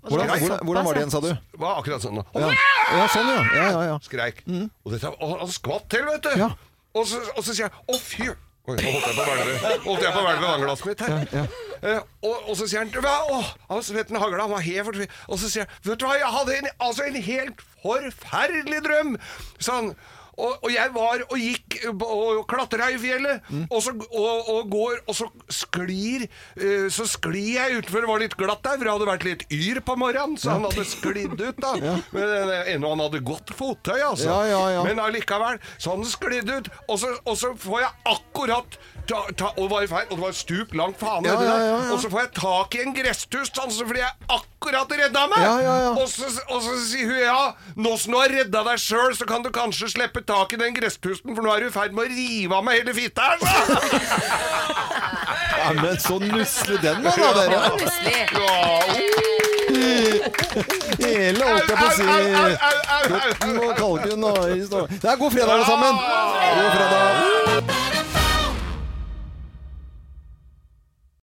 S1: Hvordan-
S3: Skreik.
S1: hvordan- hvordan var det igjen, sa du?
S3: Var akkurat sånn.
S1: Ja. ja, sånn ja. ja, ja, Mm. ja.
S3: Skreik. Og, dette, og han skvatt til, vet du. Og, så, og så sier jeg 'Å, fy'. Oi, nå holdt jeg på hvelvet. Holdt jeg på hvelvet med vannglasset mitt her. Eh, og, og så sier han Hva? Åh, han svetten hagla, han var helt fortvilet. Og så sier han Vet du hva, jeg hadde en, altså en helt forferdelig drøm! Sa han. Og, og jeg var og gikk og, og klatra i fjellet,
S1: Mm.
S3: og, så, og, og går, og så sklir eh, Så sklir jeg utfor. Det var litt glatt der, for det hadde vært litt yr på morgenen, så han hadde sklidd ut, da. Men eh, ennå han hadde godt fottøy, altså.
S1: Ja, ja, ja.
S3: Men allikevel, så han sklidde ut, og så, og så får jeg akkurat ta, ta, og, det var i feil, og det var stup langt faen
S1: Ja,
S3: nedi der.
S1: ja, ja, ja.
S3: Og så får jeg tak i en gresstust altså, fordi jeg akkurat redda meg.
S1: Ja, ja, ja.
S3: Og, så, og så sier hun ja, nå som du har redda deg sjøl, så kan du kanskje slippe tak i den gresstusten, for nå er du i ferd med å rive av meg hele fitta her, sa han.
S1: Ja, men så nusselig den var da, dere.
S3: Ja,
S1: Hele holdt jeg på å si. Kroppen og kalken og i stå- Det er god fredag, alle sammen. God fredag.